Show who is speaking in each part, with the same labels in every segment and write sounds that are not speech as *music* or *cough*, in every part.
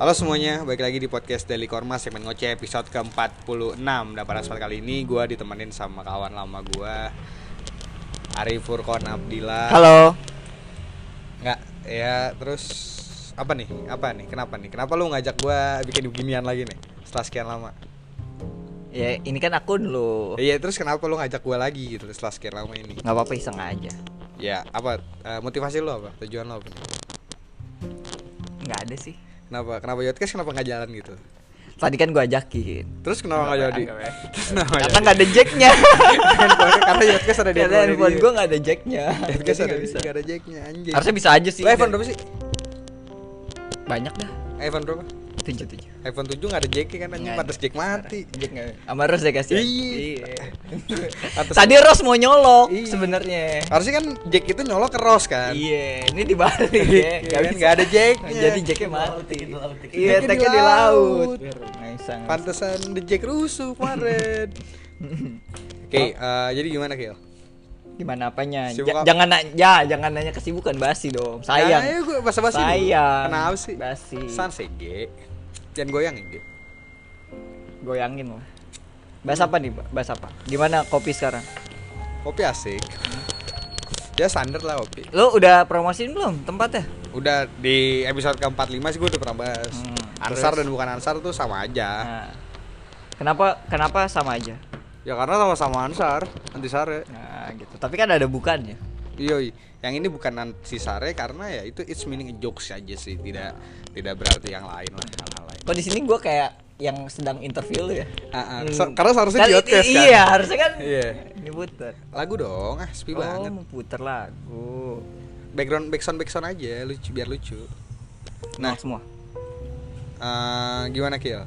Speaker 1: Halo semuanya, balik lagi di podcast Daily Korma segmen ngoceh episode ke-46 Dan pada saat kali ini gua ditemenin sama kawan lama gua Ari Furkon Abdillah
Speaker 2: Halo.
Speaker 1: Nggak, ya terus apa nih? Apa nih? Kenapa nih? Kenapa lu ngajak gua bikin beginian lagi nih? Setelah sekian lama
Speaker 2: Ya ini kan akun lu.
Speaker 1: Iya terus kenapa lu ngajak gua lagi gitu setelah sekian lama ini?
Speaker 2: nggak apa-apa iseng aja.
Speaker 1: Ya apa? eh, motivasi lu apa? Tujuan lu apa?
Speaker 2: nggak ada sih.
Speaker 1: Kenapa? Kenapa Yotcast kenapa nggak jalan gitu?
Speaker 2: Tadi kan gua ajakin.
Speaker 1: Terus kenapa nggak jadi? Terus kenapa nggak
Speaker 2: Karena nggak
Speaker 1: *laughs*
Speaker 2: ada jacknya.
Speaker 1: jadi? Karena Yotcast ada di
Speaker 2: Karena handphone gua nggak ada
Speaker 1: *laughs*
Speaker 2: jacknya. *laughs*
Speaker 1: Yotcast
Speaker 2: Jadi
Speaker 1: ada
Speaker 2: nggak
Speaker 1: bisa. Gak ada jacknya anjing
Speaker 2: Harusnya bisa aja sih.
Speaker 1: Lo iPhone berapa sih?
Speaker 2: Banyak dah.
Speaker 1: iPhone berapa?
Speaker 2: Tujuh tujuh.
Speaker 1: iPhone 7 gak ada jack kan anjing
Speaker 2: Nggak
Speaker 1: pantas
Speaker 2: ada.
Speaker 1: jack mati.
Speaker 2: Jack nggak? Sama Ros ya, deh kasih.
Speaker 1: Iya. Pantes-
Speaker 2: Tadi Ros mau nyolok
Speaker 1: Iya.
Speaker 2: sebenarnya.
Speaker 1: Harusnya kan jack itu nyolok ke Rose kan.
Speaker 2: Iya, ini dibalik ya.
Speaker 1: Iya kan? Nggak ada jacknya.
Speaker 2: Jadi jacknya mati.
Speaker 1: Jacknya
Speaker 2: Iya,
Speaker 1: di Nah,
Speaker 2: teknya di
Speaker 1: laut.
Speaker 2: laut. Nice, sangat.
Speaker 1: Pantesan the jack rusuh
Speaker 2: *laughs*
Speaker 1: kemarin. Oke, eh, jadi gimana Kil?
Speaker 2: Gimana apanya? Ja-
Speaker 1: Sibuk apa?
Speaker 2: jangan na- ya, jangan nanya kesibukan basi dong. Sayang.
Speaker 1: Nah, ayo gue bahasa basi. dulu.
Speaker 2: Sayang.
Speaker 1: Kenapa sih?
Speaker 2: Basi.
Speaker 1: San sege. Jangan goyang G.
Speaker 2: Goyangin lah. Bahas apa nih? Ba- Bahas apa? Gimana kopi sekarang?
Speaker 1: Kopi asik.
Speaker 2: Hmm.
Speaker 1: Ya standar lah kopi.
Speaker 2: Lo udah promosiin belum tempatnya?
Speaker 1: Udah di episode ke-45 sih gue udah pernah bahas.
Speaker 2: Hmm,
Speaker 1: Ansar
Speaker 2: terus?
Speaker 1: dan bukan Ansar tuh sama aja.
Speaker 2: Nah. Kenapa kenapa sama aja?
Speaker 1: Ya karena sama-sama Ansar, anti sare.
Speaker 2: Nah, gitu. Tapi kan ada bukannya.
Speaker 1: Yoi, yang ini bukan anti sare karena ya itu it's meaning a jokes aja sih, tidak tidak berarti yang lain lah hal-hal lain.
Speaker 2: Kok di sini gua kayak yang sedang interview lo ya?
Speaker 1: Ah, ah.
Speaker 2: Hmm.
Speaker 1: So- karena seharusnya
Speaker 2: Kan
Speaker 1: di
Speaker 2: i-
Speaker 1: podcast kan?
Speaker 2: Iya, harusnya kan.
Speaker 1: Iya.
Speaker 2: Ini puter.
Speaker 1: Lagu dong, ah sepi
Speaker 2: Oh,
Speaker 1: banget.
Speaker 2: mau puter lagu.
Speaker 1: Background backsound backsound aja, lucu biar lucu. Nah,
Speaker 2: Nah, semua.
Speaker 1: eh, gimana Kil?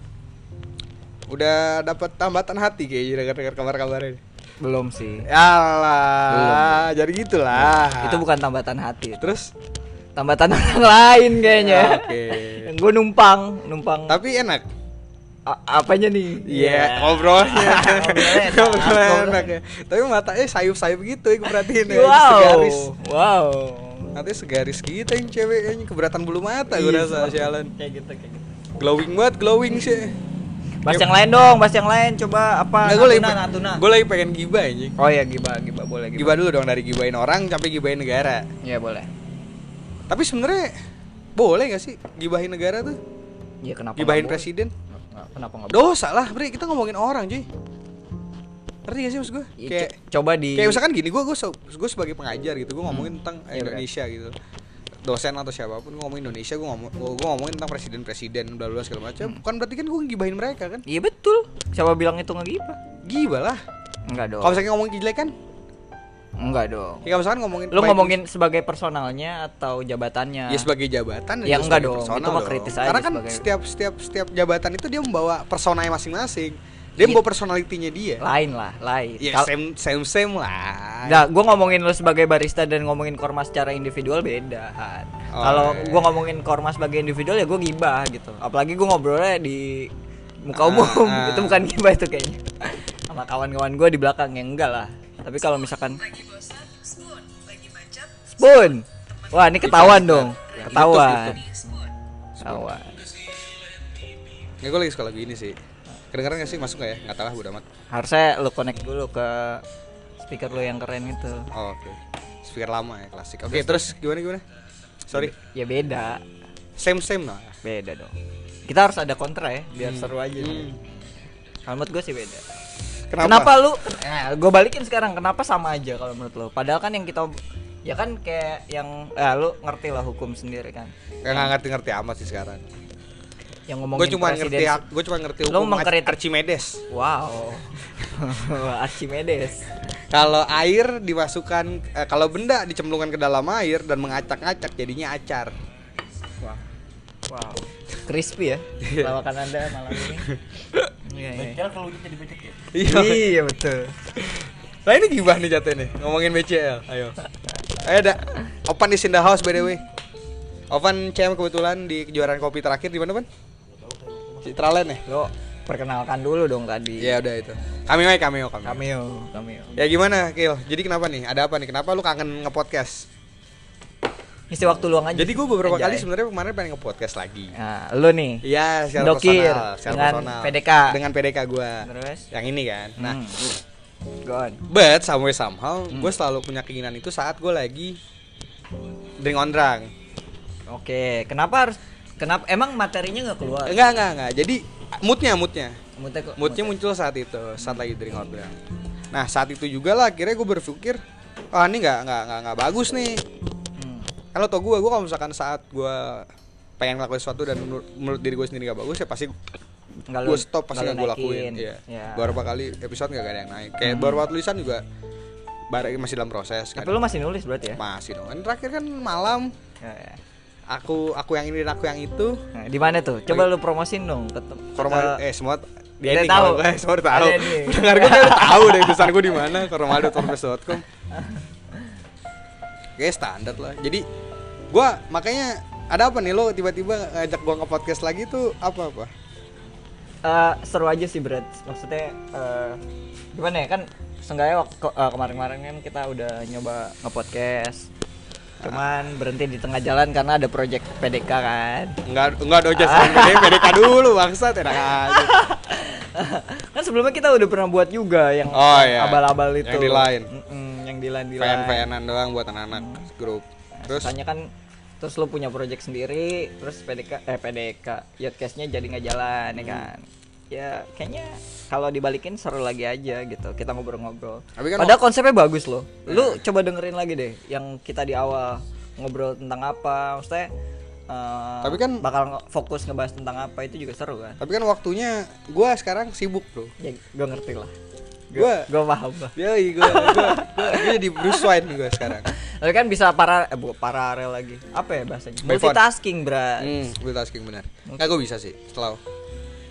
Speaker 1: Udah dapat tambatan hati kayaknya dengar-dengar kabar-kabarnya.
Speaker 2: Belum sih.
Speaker 1: Alah, jadi gitulah.
Speaker 2: Itu bukan tambatan hati.
Speaker 1: Terus
Speaker 2: tambatan *laughs* orang lain kayaknya.
Speaker 1: Ah,
Speaker 2: *laughs*
Speaker 1: Oke.
Speaker 2: gue numpang, numpang.
Speaker 1: tapi enak.
Speaker 2: A- apanya nih?
Speaker 1: Iya, ngobrolnya.
Speaker 2: *laughs* Ngobrolnya enak,
Speaker 1: Ngobrolnya enak
Speaker 2: ngobrolnya.
Speaker 1: ya. Tapi matanya sayup-sayup gitu, ya, gue perhatiin ya.
Speaker 2: Wow.
Speaker 1: Segaris.
Speaker 2: Wow.
Speaker 1: Nanti segaris gitu yang cewek yang keberatan bulu mata gue
Speaker 2: Iya,
Speaker 1: rasa
Speaker 2: seperti-
Speaker 1: sialan.
Speaker 2: Kayak gitu, kayak gitu.
Speaker 1: Glowing banget, glowing sih.
Speaker 2: Bahas yang lain dong, bahas yang lain. Coba apa?
Speaker 1: gue lagi,
Speaker 2: Ah, Natuna, Natuna.
Speaker 1: gue lagi pengen gibah anjing.
Speaker 2: Oh ya, gibah, gibah boleh gibah.
Speaker 1: Gibah dulu dong dari gibahin orang sampai gibahin negara.
Speaker 2: Iya, boleh.
Speaker 1: Tapi sebenarnya boleh gak sih gibahin negara tuh?
Speaker 2: Iya, kenapa?
Speaker 1: Gibahin
Speaker 2: nggak
Speaker 1: presiden?
Speaker 2: boleh? Nggak- Kenapa enggak?
Speaker 1: Dosa lah, Bre. Kita ngomongin orang, cuy. Ngerti gak sih maksud gue?
Speaker 2: Iya,
Speaker 1: Kayak
Speaker 2: coba di
Speaker 1: Kayak misalkan gini, gue gue gue sebagai pengajar gitu, gue ngomongin tentang
Speaker 2: Iya,
Speaker 1: Indonesia gitu, dosen atau siapapun gue ngomongin Indonesia, gue ngomong gue ngomongin tentang presiden-presiden udah lulus segala
Speaker 2: Hmm.
Speaker 1: macam. Bukan berarti kan gue gibahin mereka kan?
Speaker 2: Iya betul. Siapa bilang itu nggak gibah?
Speaker 1: Gibah lah.
Speaker 2: Enggak dong.
Speaker 1: Kalau misalkan ngomongin kejelekan,
Speaker 2: Enggak dong.
Speaker 1: ya kalau misalkan ngomongin
Speaker 2: Lu
Speaker 1: baik-
Speaker 2: ngomongin sebagai personalnya atau jabatannya?
Speaker 1: ya sebagai jabatan juga
Speaker 2: Ya, enggak
Speaker 1: sebagai
Speaker 2: dong.
Speaker 1: personal
Speaker 2: Itu mah
Speaker 1: dong.
Speaker 2: kritis aja
Speaker 1: Karena kan
Speaker 2: sebagai-
Speaker 1: setiap setiap setiap jabatan itu dia membawa personanya masing-masing. Dia
Speaker 2: Iya.
Speaker 1: membawa personalitinya dia.
Speaker 2: lain lah, lain.
Speaker 1: Ya
Speaker 2: Kal-
Speaker 1: same same same lah.
Speaker 2: Nah, gue ngomongin lo sebagai barista dan ngomongin korma secara individual beda.
Speaker 1: Oh,
Speaker 2: Kalau
Speaker 1: iya.
Speaker 2: gue ngomongin korma sebagai individual ya gue gibah gitu. Apalagi gue ngobrolnya di muka
Speaker 1: Ah,
Speaker 2: umum,
Speaker 1: ah.
Speaker 2: itu bukan gibah itu kayaknya. Sama kawan-kawan gue di belakang ya enggak lah. Tapi kalau misalkan
Speaker 3: lagi bosan, spoon. Lagi macet,
Speaker 2: spoon, wah ini ketahuan
Speaker 1: Iklan,
Speaker 2: dong,
Speaker 1: iklan.
Speaker 2: ketahuan,
Speaker 1: YouTube,
Speaker 3: spoon.
Speaker 2: ketahuan.
Speaker 1: Ya, gue lagi suka lagu ini sih. Kedengeran gak sih masuk gak ya? Gak tahu lah, udah amat.
Speaker 2: Harusnya lo connect dulu ke speaker lo yang keren itu.
Speaker 1: Oh, Oke. Speaker lama ya, klasik. Oke, terus gimana gimana? Sorry.
Speaker 2: Ya beda,
Speaker 1: Same same lah.
Speaker 2: beda dong. Kita harus ada kontra ya, biar seru aja.
Speaker 1: Hmm.
Speaker 2: Kalau menurut gue sih beda. Kenapa,
Speaker 1: Kenapa?
Speaker 2: lu? Nah, gue balikin sekarang. Kenapa sama aja kalau menurut lu? Padahal kan yang kita ya kan kayak yang eh, lu ngerti lah hukum sendiri kan.
Speaker 1: Gak ngerti-ngerti amat sih sekarang.
Speaker 2: Yang ngomongin
Speaker 1: Gue cuma ngerti
Speaker 2: presiden-
Speaker 1: gue cuma ngerti
Speaker 2: Lu
Speaker 1: hukum Ar-
Speaker 2: mengkritik-
Speaker 1: Archimedes.
Speaker 2: Wow. *laughs* Archimedes.
Speaker 1: Kalau air dimasukkan eh, kalau benda dicemplungkan ke dalam air dan mengacak-acak jadinya acar.
Speaker 2: Wow. Wow. Crispy ya.
Speaker 1: Iya.
Speaker 2: Lawakan Anda malam ini.
Speaker 1: *laughs*
Speaker 2: Iya, iya.
Speaker 3: kalau jadi becek ya?
Speaker 1: Iya.
Speaker 2: Iya betul.
Speaker 1: Lah ini gibah nih jatuhnya nih, ngomongin BCL. Ayo. Ayo dah. Opan di Sinda House by the way. Ovan CM kebetulan di kejuaraan kopi terakhir di mana, Pan? Citraland ya?
Speaker 2: Lo perkenalkan dulu dong tadi.
Speaker 1: Ya udah itu. Cameo ya, cameo cameo.
Speaker 2: Cameo, cameo.
Speaker 1: Ya gimana, Kil? Jadi kenapa nih? Ada apa nih? Kenapa lu kangen nge-podcast?
Speaker 2: ngisi waktu luang aja
Speaker 1: Jadi gue beberapa
Speaker 2: Anjay.
Speaker 1: kali sebenarnya kemarin pengen nge-podcast lagi.
Speaker 2: nah, lu nih
Speaker 1: Iya, secara
Speaker 2: Dokir
Speaker 1: personal, secara
Speaker 2: dengan
Speaker 1: personal.
Speaker 2: PDK.
Speaker 1: Dengan PDK gue.
Speaker 2: Terus?
Speaker 1: Yang ini kan. Nah,
Speaker 2: nah go on
Speaker 1: but somewhere somehow
Speaker 2: Hmm.
Speaker 1: gue selalu punya keinginan itu saat gue lagi drink on drunk.
Speaker 2: oke kenapa harus kenapa emang materinya nggak keluar
Speaker 1: Enggak, enggak, enggak. Jadi moodnya, moodnya.
Speaker 2: Moodnya kok-
Speaker 1: Moodnya muncul saat itu, saat lagi drink on drunk. Nah, saat itu juga lah akhirnya gue berpikir, ah ini nggak nggak nggak nggak bagus nih.
Speaker 2: Hmm.
Speaker 1: Kalau tau gue, gue kalau misalkan saat gue pengen ngelakuin sesuatu dan menur- menurut diri gue sendiri nggak bagus ya pasti
Speaker 2: Nggak lu-
Speaker 1: gue stop pasti
Speaker 2: nggak
Speaker 1: nggak
Speaker 2: lu
Speaker 1: gue
Speaker 2: naikin.
Speaker 1: lakuin iya.
Speaker 2: Iya. Hmm.
Speaker 1: beberapa kali episode nggak ada yang naik kayak beberapa tulisan juga barang masih dalam proses kan.
Speaker 2: tapi lu masih nulis berarti ya
Speaker 1: masih dong kan terakhir kan malam
Speaker 2: Ya, ya.
Speaker 1: aku aku yang ini dan aku yang itu
Speaker 2: Nah, di mana tuh coba lu promosiin dong ke tem-
Speaker 1: formal
Speaker 2: ke-
Speaker 1: eh semua
Speaker 2: Dia
Speaker 1: dia
Speaker 2: tahu.
Speaker 1: tahu, eh, semua udah tahu.
Speaker 2: Ada nih.
Speaker 1: Pendengar gue kan *laughs* udah tahu deh tulisan gue di mana, *laughs* formal.wordpress.com. Oke, standar lah. Jadi gua makanya ada apa nih lo tiba-tiba ngajak gua ke podcast lagi tuh apa apa?
Speaker 2: Eh, seru aja sih Brad maksudnya eh, gimana ya kan seenggaknya wak- ke- eh, kemarin-kemarin kan kita udah nyoba nge-podcast cuman berhenti di tengah jalan karena ada project PDK kan
Speaker 1: Enggak enggak ada jasa PDK *laughs* dulu bangsat enak *laughs* aja.
Speaker 2: *laughs* kan sebelumnya kita udah pernah buat juga yang
Speaker 1: Oh, iya.
Speaker 2: yang abal-abal itu
Speaker 1: Yang di line.
Speaker 2: Mm-mm, yang di line di line
Speaker 1: fan-fanan doang buat anak-anak grup.
Speaker 2: terus
Speaker 1: Terus
Speaker 2: kan terus lu punya project sendiri terus PDK eh PDK yodcastnya jadi nggak jalan
Speaker 1: Hmm.
Speaker 2: ya kan ya kayaknya kalau dibalikin seru lagi aja gitu kita ngobrol-ngobrol
Speaker 1: Tapi kan Iya.
Speaker 2: padahal konsepnya bagus loh lu coba dengerin lagi deh yang kita di awal ngobrol tentang apa maksudnya eh,
Speaker 1: Tapi kan-
Speaker 2: bakal nge- fokus ngebahas tentang apa itu juga seru kan
Speaker 1: tapi kan waktunya gua sekarang sibuk, Bro.
Speaker 2: ya gue ngerti lah
Speaker 1: Gua-
Speaker 2: gue paham lah
Speaker 1: Yoi, gua gua gua, gua jadi Bruce Wayne gua sekarang.
Speaker 2: Tapi kan bisa para eh, bu, paralel lagi. Apa ya bahasanya?
Speaker 1: By phone.
Speaker 2: Multitasking, Bra.
Speaker 1: Hmm, multitasking benar. Enggak gua bisa sih, selalu.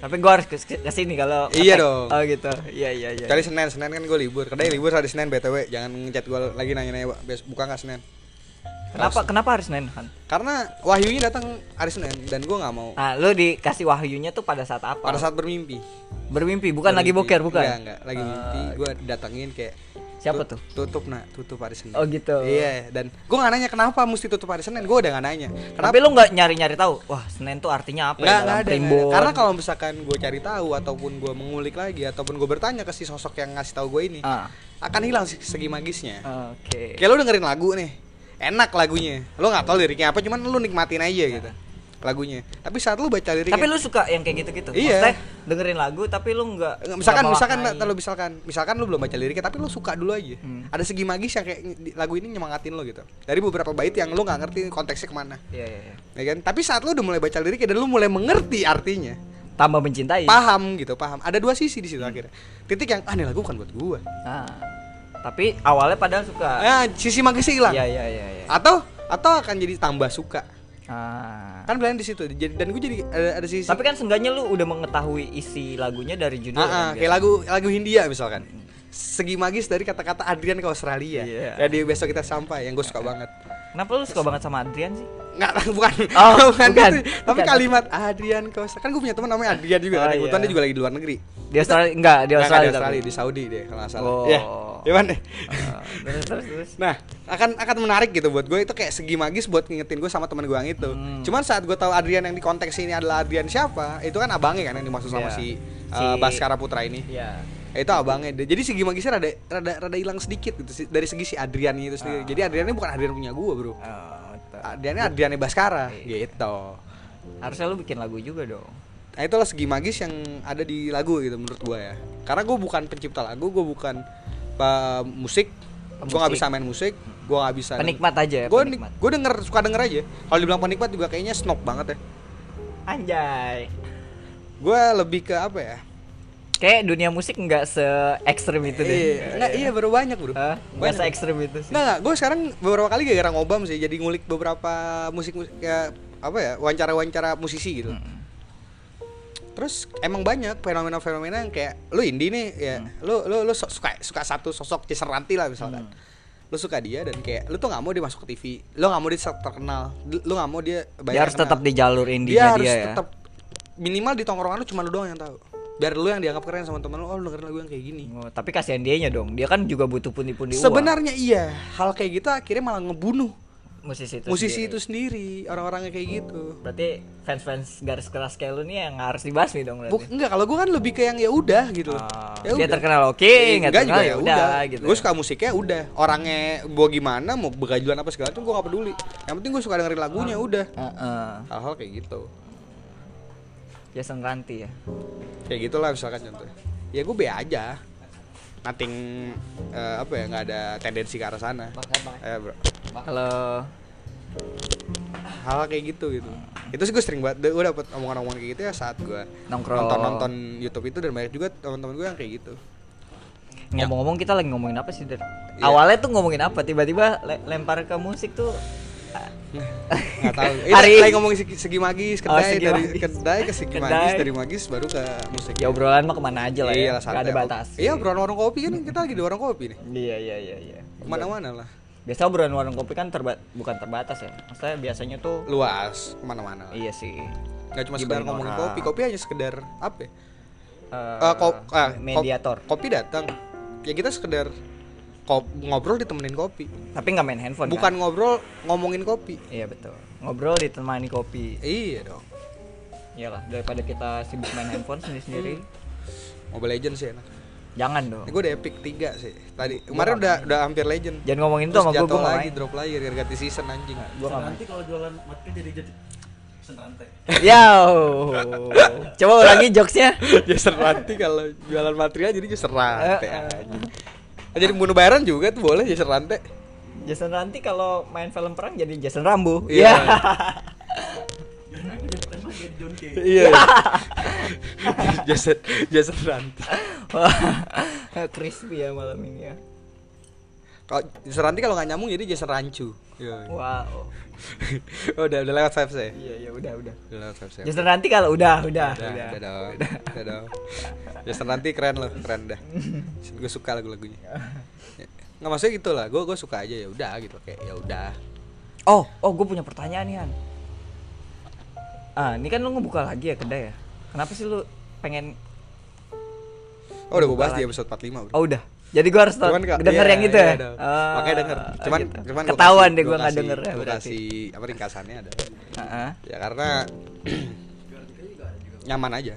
Speaker 2: Tapi gua harus ke, ke sini kalau
Speaker 1: Iya
Speaker 2: ngetek.
Speaker 1: dong.
Speaker 2: Oh gitu. Iya iya iya. Hmm.
Speaker 1: Kali Senin, Senin kan gue libur. Kedai libur hari Senin BTW, jangan ngechat gue lagi nanya-nanya "Wak, bes- buka nggak Senin.
Speaker 2: Kenapa kenapa harus Senin, Han?
Speaker 1: Karena Wahyunya datang hari Senin dan gue nggak mau
Speaker 2: Nah, lu dikasih wahyunya tuh pada saat apa?
Speaker 1: pada saat bermimpi.
Speaker 2: bermimpi, bukan lagi
Speaker 1: Bermimpi.
Speaker 2: boker, bukan? Ah, iya.
Speaker 1: Enggak, enggak. Lagi mimpi gue datangin kayak
Speaker 2: Siapa
Speaker 1: "Tut-
Speaker 2: tuh?"
Speaker 1: Tutup nak, tutup hari Senin.
Speaker 2: Oh, gitu.
Speaker 1: Iya, dan gue nggak nanya kenapa mesti tutup hari Senin. Gue udah nggak nanya.
Speaker 2: Tapi lu nggak nyari-nyari tahu. Wah, Senin tuh artinya apa
Speaker 1: Nggak,
Speaker 2: ya
Speaker 1: nggak ada,
Speaker 2: dalam
Speaker 1: nggak
Speaker 2: primbon?
Speaker 1: ada. Karena kalau misalkan gue cari tahu ataupun gue mengulik lagi ataupun gue bertanya ke si sosok yang ngasih tahu gue ini,
Speaker 2: Ah.
Speaker 1: akan hilang se- segi magisnya.
Speaker 2: Oke.
Speaker 1: Kayak lu dengerin lagu nih, enak lagunya. Lu nggak tahu liriknya apa, cuman lu nikmatin aja gitu lagunya. Tapi saat lu baca liriknya,
Speaker 2: Tapi lu suka yang kayak gitu-gitu.
Speaker 1: Iya.
Speaker 2: Maksudnya dengerin lagu tapi lu nggak
Speaker 1: Nggak, misalkan
Speaker 2: nggak
Speaker 1: misalkan
Speaker 2: mewarnai.
Speaker 1: kalau misalkan misalkan lu belum baca liriknya tapi lu suka dulu aja
Speaker 2: Hmm.
Speaker 1: ada segi magis yang kayak di- lagu ini nyemangatin lo gitu dari beberapa bait yang lu nggak ngerti konteksnya kemana
Speaker 2: Iya iya iya.
Speaker 1: ya kan tapi saat lu udah mulai baca liriknya dan lu mulai mengerti artinya
Speaker 2: Tambah mencintai.
Speaker 1: paham gitu paham ada dua sisi di situ
Speaker 2: Hmm.
Speaker 1: akhirnya titik yang ah ini lagu bukan buat gua
Speaker 2: Nah, tapi awalnya padahal suka.
Speaker 1: nah sisi magisnya hilang
Speaker 2: Ah. Iya iya iya iya.
Speaker 1: atau atau akan jadi tambah suka
Speaker 2: Ah.
Speaker 1: kan belain di situ jadi dan gue jadi ada, ada sisi
Speaker 2: Tapi kan seenggaknya lu udah mengetahui isi lagunya dari
Speaker 1: Ah,
Speaker 2: judul
Speaker 1: ah, kayak
Speaker 2: kan, biasa.
Speaker 1: lagu lagu Hindia misalkan. Segi magis dari kata-kata Adrian ke Australia.
Speaker 2: Iya.
Speaker 1: Ya di besok kita sampai yang gue suka banget.
Speaker 2: Kenapa lu suka banget sama Adrian sih?
Speaker 1: Nggak, *laughs* bukan.
Speaker 2: Oh,
Speaker 1: bukan,
Speaker 2: bukan.
Speaker 1: gitu. Tapi
Speaker 2: Bukan.
Speaker 1: kalimat Adrian ke Australia. Kan gue punya teman namanya Adrian juga.
Speaker 2: Oh,
Speaker 1: kan.
Speaker 2: iya.
Speaker 1: Kebetulan dia juga lagi di luar negeri.
Speaker 2: Di Australia enggak,
Speaker 1: Nggak,
Speaker 2: di
Speaker 1: nggak,
Speaker 2: Australia.
Speaker 1: di Australia,
Speaker 2: tapi.
Speaker 1: di Saudi deh kalau nggak salah.
Speaker 2: Oh.
Speaker 1: Iya. Iya, Pan, deh.
Speaker 2: Ah, terus terus terus.
Speaker 1: Nah, akan akan menarik gitu buat gue itu kayak segi magis buat ngingetin gue sama teman gue yang itu.
Speaker 2: Hmm.
Speaker 1: Cuman saat gue tahu Adrian yang di konteks ini adalah Adrian siapa, itu kan abangnya kan yang dimaksud sama
Speaker 2: Iya.
Speaker 1: si,
Speaker 2: Si-
Speaker 1: uh, Baskara Putra ini.
Speaker 2: Iya.
Speaker 1: Ya, itu abangnya dia. jadi segi magisnya rada rada rada hilang sedikit gitu sih, dari segi si Adrian itu sendiri jadi
Speaker 2: Ah.
Speaker 1: Adriannya bukan Adrian punya gua bro
Speaker 2: Oh, gitu.
Speaker 1: Adriannya Adriannya Baskara
Speaker 2: Iya.
Speaker 1: gitu
Speaker 2: Harusnya lu bikin lagu juga dong.
Speaker 1: nah itulah segi magis yang ada di lagu gitu menurut gua ya karena gua bukan pencipta lagu gua bukan uh, musik gua nggak
Speaker 2: Pemusik.
Speaker 1: bisa main musik gua nggak bisa
Speaker 2: Penikmat aja ya,
Speaker 1: gua
Speaker 2: penikmat.
Speaker 1: gua denger suka denger aja kalau dibilang penikmat juga kayaknya snob banget ya
Speaker 2: Anjay.
Speaker 1: gua lebih ke apa ya
Speaker 2: Kayak dunia musik enggak se ekstrim itu deh.
Speaker 1: iya, nggak, iya baru banyak bro
Speaker 2: Hah? Nggak
Speaker 1: Banyak,
Speaker 2: se
Speaker 1: bro.
Speaker 2: ekstrim itu sih.
Speaker 1: Enggak, enggak. Gue sekarang beberapa kali gara-gara ngobam sih, jadi ngulik beberapa musik, musik ya, apa ya, wawancara-wawancara musisi gitu.
Speaker 2: Hmm.
Speaker 1: Terus emang banyak fenomena-fenomena yang kayak lu indie nih, ya,
Speaker 2: Hmm.
Speaker 1: lu lu lu so- suka suka satu sosok Ciseranti lah misalkan.
Speaker 2: Hmm.
Speaker 1: Lu suka dia dan kayak lu tuh nggak mau dia masuk ke TV, lu nggak mau dia terkenal, lu nggak mau dia
Speaker 2: Dia harus
Speaker 1: kenal.
Speaker 2: tetap di jalur
Speaker 1: dia,
Speaker 2: indinya dia,
Speaker 1: harus
Speaker 2: ya.
Speaker 1: tetap minimal di tongkrongan lu cuma lu doang yang tahu. Biar lu yang dianggap keren sama temen lu, oh lu dengerin lagu yang kayak gini.
Speaker 2: Oh, tapi kasihan dianya dong. Dia kan juga butuh pundi-pundi uang.
Speaker 1: Sebenarnya iya, hal kayak gitu akhirnya malah ngebunuh
Speaker 2: musisi itu
Speaker 1: musisi itu
Speaker 2: sendiri.
Speaker 1: sendiri orang-orangnya kayak gitu
Speaker 2: berarti fans-fans garis keras kayak lu nih yang harus dibasmi dong
Speaker 1: Buk,
Speaker 2: berarti
Speaker 1: enggak kalau gue kan lebih ke yang ya udah gitu loh.
Speaker 2: Ah,
Speaker 1: Ya udah.
Speaker 2: dia terkenal oke nggak
Speaker 1: Enggak
Speaker 2: terkenal
Speaker 1: juga
Speaker 2: ya udah gitu
Speaker 1: Gue suka musiknya udah. Orangnya gua gimana mau begajulan apa segala itu gue gak peduli. Yang penting gue suka dengerin lagunya
Speaker 2: Ah.
Speaker 1: udah.
Speaker 2: Heeh.
Speaker 1: Hal-hal kayak gitu.
Speaker 2: Jason Ranti ya
Speaker 1: Kayak gitulah misalkan contoh. Ya gue be aja. Nothing eh, apa ya nggak ada tendensi ke arah sana.
Speaker 2: ya?
Speaker 1: Eh, bro.
Speaker 2: kalau
Speaker 1: Hal kayak gitu gitu. Itu sih gue sering banget gue dapet omongan-omongan kayak gitu ya saat gue
Speaker 2: nongkrong
Speaker 1: nonton-nonton YouTube itu dan banyak juga teman-teman gue yang kayak
Speaker 2: *laughs*
Speaker 1: gitu.
Speaker 2: ngomong-ngomong kita lagi ngomongin apa sih Der?
Speaker 1: Iya.
Speaker 2: awalnya tuh ngomongin apa tiba-tiba le- lempar ke musik tuh
Speaker 1: Nggak tahu. Ini
Speaker 2: Hari
Speaker 1: lagi ngomongin segi, segi magis,
Speaker 2: Oh,
Speaker 1: kedai
Speaker 2: segi
Speaker 1: dari
Speaker 2: magis.
Speaker 1: kedai ke segi magis,
Speaker 2: Kedai.
Speaker 1: dari magis baru ke musik.
Speaker 2: ya obrolan mah kemana aja lah ya
Speaker 1: Iyalah,
Speaker 2: nggak ada
Speaker 1: santai.
Speaker 2: batas
Speaker 1: Iya, obrolan warung kopi kan kita lagi di warung kopi nih.
Speaker 2: iya iya iya iya
Speaker 1: Kemana-mana lah.
Speaker 2: biasa obrolan warung kopi kan terba- bukan terbatas ya maksudnya biasanya tuh
Speaker 1: Luas, kemana-mana. lah.
Speaker 2: iya sih
Speaker 1: Nggak cuma sekedar
Speaker 2: Dibanding
Speaker 1: ngomongin
Speaker 2: orang.
Speaker 1: kopi, kopi hanya sekedar apa? ya?
Speaker 2: Ah. Eh,
Speaker 1: Eh, ko- eh, ko-
Speaker 2: mediator
Speaker 1: kopi datang. Ya kita sekedar ko- ngobrol ditemenin kopi.
Speaker 2: tapi nggak main handphone
Speaker 1: Bukan
Speaker 2: kan?
Speaker 1: ngobrol ngomongin kopi.
Speaker 2: iya betul ngobrol ditemani kopi
Speaker 1: Iya dong.
Speaker 2: iyalah daripada kita sibuk main handphone sendiri sendiri
Speaker 1: Mobile Legends sih enak.
Speaker 2: Hmm. Oh. jangan dong
Speaker 1: Ini gue udah epic 3 sih. Tadi kemarin udah udah hampir legend.
Speaker 2: jangan ngomongin itu
Speaker 1: Terus
Speaker 2: sama gue gue
Speaker 1: jatuh
Speaker 2: nggak
Speaker 1: lagi,
Speaker 2: main
Speaker 1: drop lagi gara-gara ganti season anjing.
Speaker 2: gue nggak main
Speaker 1: *laughs*
Speaker 4: nanti kalau jualan matka jadi jadi senrantai
Speaker 2: *laughs* Yow. coba ulangi jokesnya
Speaker 1: Jaser ranti Ya, kalau jualan material jadi jaser rantai
Speaker 2: Eh, eh.
Speaker 1: anjing. Ah, Jadi bunuh bayaran juga tuh boleh jaser rantai.
Speaker 2: Jason Ranti kalau main film perang jadi Jason Rambo *laughs*
Speaker 1: Iya.
Speaker 2: Iya
Speaker 4: John aku jadi pertama jadi John K
Speaker 2: *laughs*
Speaker 1: Iya. jaser jaser ranti.
Speaker 2: Wah, *laughs* crispy ya malam ini ya
Speaker 1: Kalau jaser ranti kalau nggak nyambung jadi jaser rancu. Iya.
Speaker 2: wow
Speaker 1: Oh, *laughs* udah udah lewat vibes ya.
Speaker 2: iya iya udah udah
Speaker 1: Udah lewat vibes ya.
Speaker 2: Jason Ranti kalau udah udah
Speaker 1: Udah,
Speaker 2: udah,
Speaker 1: udah dong, udah dong. Jason Ranti keren loh, keren dah. Gue suka lagu-lagunya. *laughs* Ya, Nggak maksudnya gitu lah, gue gue suka aja ya udah gitu kayak ya udah.
Speaker 2: oh oh gue punya pertanyaan nih Han ah ini kan lu ngebuka lagi ya kedai ya kenapa sih lu pengen
Speaker 1: Oh udah gue bahas di
Speaker 2: Buka
Speaker 1: episode 45 bro.
Speaker 2: oh udah jadi gue harus
Speaker 1: Cuman
Speaker 2: denger
Speaker 1: nggak- iya,
Speaker 2: yang itu
Speaker 1: iya
Speaker 2: ya
Speaker 1: dong.
Speaker 2: Ah,
Speaker 1: Makanya denger. Cuman
Speaker 2: gitu.
Speaker 1: cuman gua
Speaker 2: ketahuan
Speaker 1: kasih-
Speaker 2: deh gue
Speaker 1: gua
Speaker 2: nggak
Speaker 1: kasih-
Speaker 2: denger ya
Speaker 1: Gua
Speaker 2: berarti
Speaker 1: kasih apa ringkasannya ada.
Speaker 2: Ah, ah.
Speaker 1: Ya karena *clears throat* nyaman aja,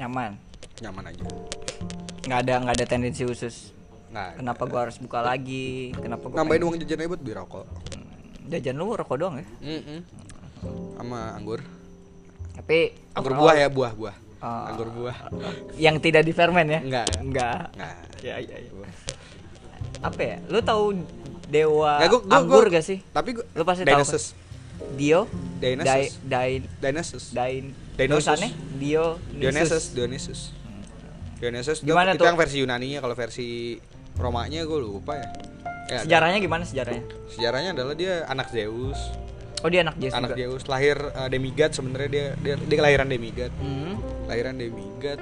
Speaker 2: nyaman
Speaker 1: nyaman aja.
Speaker 2: nggak ada nggak ada tendensi khusus
Speaker 1: Nah,
Speaker 2: kenapa gue harus buka lagi kenapa gue
Speaker 1: nambahin uang jajan aja buat beli rokok.
Speaker 2: jajan lu rokok doang ya
Speaker 1: Mm Sama anggur.
Speaker 2: tapi
Speaker 1: Anggur buah
Speaker 2: overall
Speaker 1: ya, buah, buah.
Speaker 2: Oh, Ah.
Speaker 1: Anggur buah.
Speaker 2: *laughs* yang tidak di ferment ya
Speaker 1: Enggak.
Speaker 2: enggak
Speaker 1: Nah,
Speaker 2: ya ya, ya.
Speaker 1: buah.
Speaker 2: apa ya lu tahu dewa
Speaker 1: Nggak, gua- gua-
Speaker 2: anggur
Speaker 1: gua-
Speaker 2: gak sih
Speaker 1: Tapi gua,
Speaker 2: Lu pasti tahu kan?
Speaker 1: Dionysus.
Speaker 2: dio dai
Speaker 1: Dionysus.
Speaker 2: dai
Speaker 1: Dionysus.
Speaker 2: dain
Speaker 1: Dionysus.
Speaker 2: tulisannya dio
Speaker 1: Dionysus, Dionysus. Dionysus itu-
Speaker 2: Gimana
Speaker 1: itu
Speaker 2: tuh?
Speaker 1: yang versi Yunani-nya, kalau versi Romanya gue lupa ya. ya ada.
Speaker 2: sejarahnya gimana sejarahnya
Speaker 1: Sejarahnya adalah dia anak Zeus,
Speaker 2: oh dia anak Zeus
Speaker 1: anak
Speaker 2: juga
Speaker 1: Zeus lahir eh, demigod sebenarnya dia, dia dia kelahiran demigod,
Speaker 2: Hmm.
Speaker 1: lahiran demigod.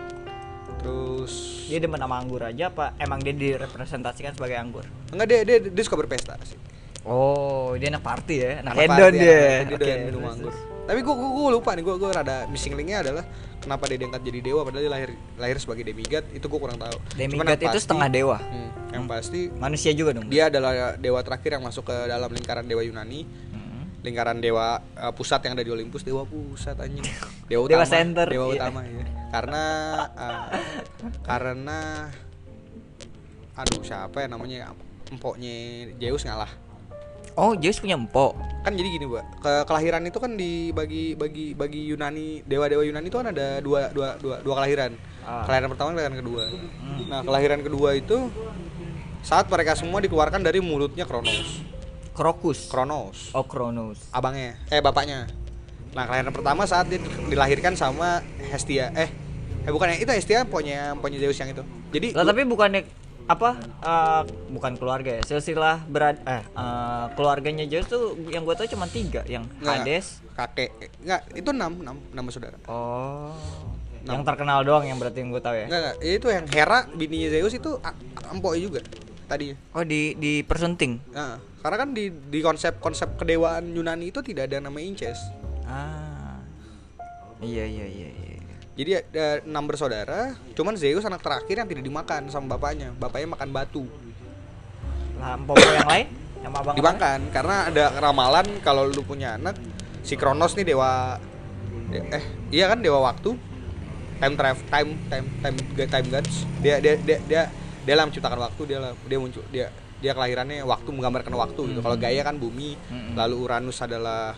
Speaker 1: Terus
Speaker 2: dia demen sama anggur aja apa emang dia direpresentasikan sebagai anggur
Speaker 1: enggak dia, dia dia suka berpesta sih.
Speaker 2: oh dia anak party ya anak,
Speaker 1: Anak
Speaker 2: hedon
Speaker 1: party,
Speaker 2: dia
Speaker 1: anak- dia doyan minum
Speaker 2: terus,
Speaker 1: anggur.
Speaker 2: terus.
Speaker 1: Tapi gue lupa nih gue gue rada missing linknya adalah kenapa dia diangkat jadi dewa padahal dia lahir lahir sebagai demigod itu gue kurang tahu. Cuman
Speaker 2: demigod
Speaker 1: yang
Speaker 2: itu
Speaker 1: pasti-
Speaker 2: setengah dewa
Speaker 1: Hmm, yang pasti
Speaker 2: manusia juga dong
Speaker 1: dia adalah dewa terakhir yang masuk ke dalam lingkaran dewa Yunani
Speaker 2: Hmm.
Speaker 1: lingkaran dewa eh, pusat yang ada di Olympus dewa pusat
Speaker 2: *laughs*
Speaker 1: anjing dewa
Speaker 2: Dewa
Speaker 1: utama
Speaker 2: center,
Speaker 1: dewa
Speaker 2: iya.
Speaker 1: utama ya karena eh, karena aduh siapa ya namanya empoknya Zeus ngalah
Speaker 2: oh Zeus punya empok
Speaker 1: kan jadi gini bu ke kelahiran itu kan dibagi bagi bagi Yunani dewa dewa Yunani itu kan ada dua dua dua, dua kelahiran
Speaker 2: Ah. Hmm.
Speaker 1: kelahiran pertama dan kelahiran kedua nah kelahiran kedua itu saat mereka semua dikeluarkan dari mulutnya Kronos
Speaker 2: Krokus
Speaker 1: Kronos
Speaker 2: Oh Kronos
Speaker 1: abangnya eh bapaknya nah kelahiran pertama saat dia dilahirkan sama Hestia eh eh bukan ya itu Hestia punya punya Zeus yang itu jadi
Speaker 2: Lah tapi bukannya apa eh, bukan keluarga ya silsilah berad eh eh, keluarganya Zeus tuh yang gue tau cuma tiga yang
Speaker 1: Nggak,
Speaker 2: Hades
Speaker 1: kakek enggak itu enam enam enam saudara
Speaker 2: oh
Speaker 1: Nah.
Speaker 2: yang terkenal doang yang berarti yang gue tau ya
Speaker 1: enggak enggak itu yang Hera bininya Zeus itu a- empoknya juga tadinya
Speaker 2: oh di di persunting
Speaker 1: nah, karena kan di di konsep konsep kedewaan Yunani itu tidak ada nama Inces
Speaker 2: ah iya iya iya iya
Speaker 1: jadi ada enam bersaudara cuman Zeus anak terakhir yang tidak dimakan sama bapaknya bapaknya makan batu
Speaker 2: lah empok yang lain Sama abang
Speaker 1: di Bangkan karena ada ramalan kalau lu punya anak si Kronos nih dewa de- eh iya kan dewa waktu time travel time time time ga- time guns dia dia dia dia dia lah menciptakan waktu dia lah- dia muncul dia dia kelahirannya waktu menggambarkan waktu gitu
Speaker 2: Mhm.
Speaker 1: kalau Gaia kan bumi
Speaker 2: Mhm.
Speaker 1: lalu Uranus adalah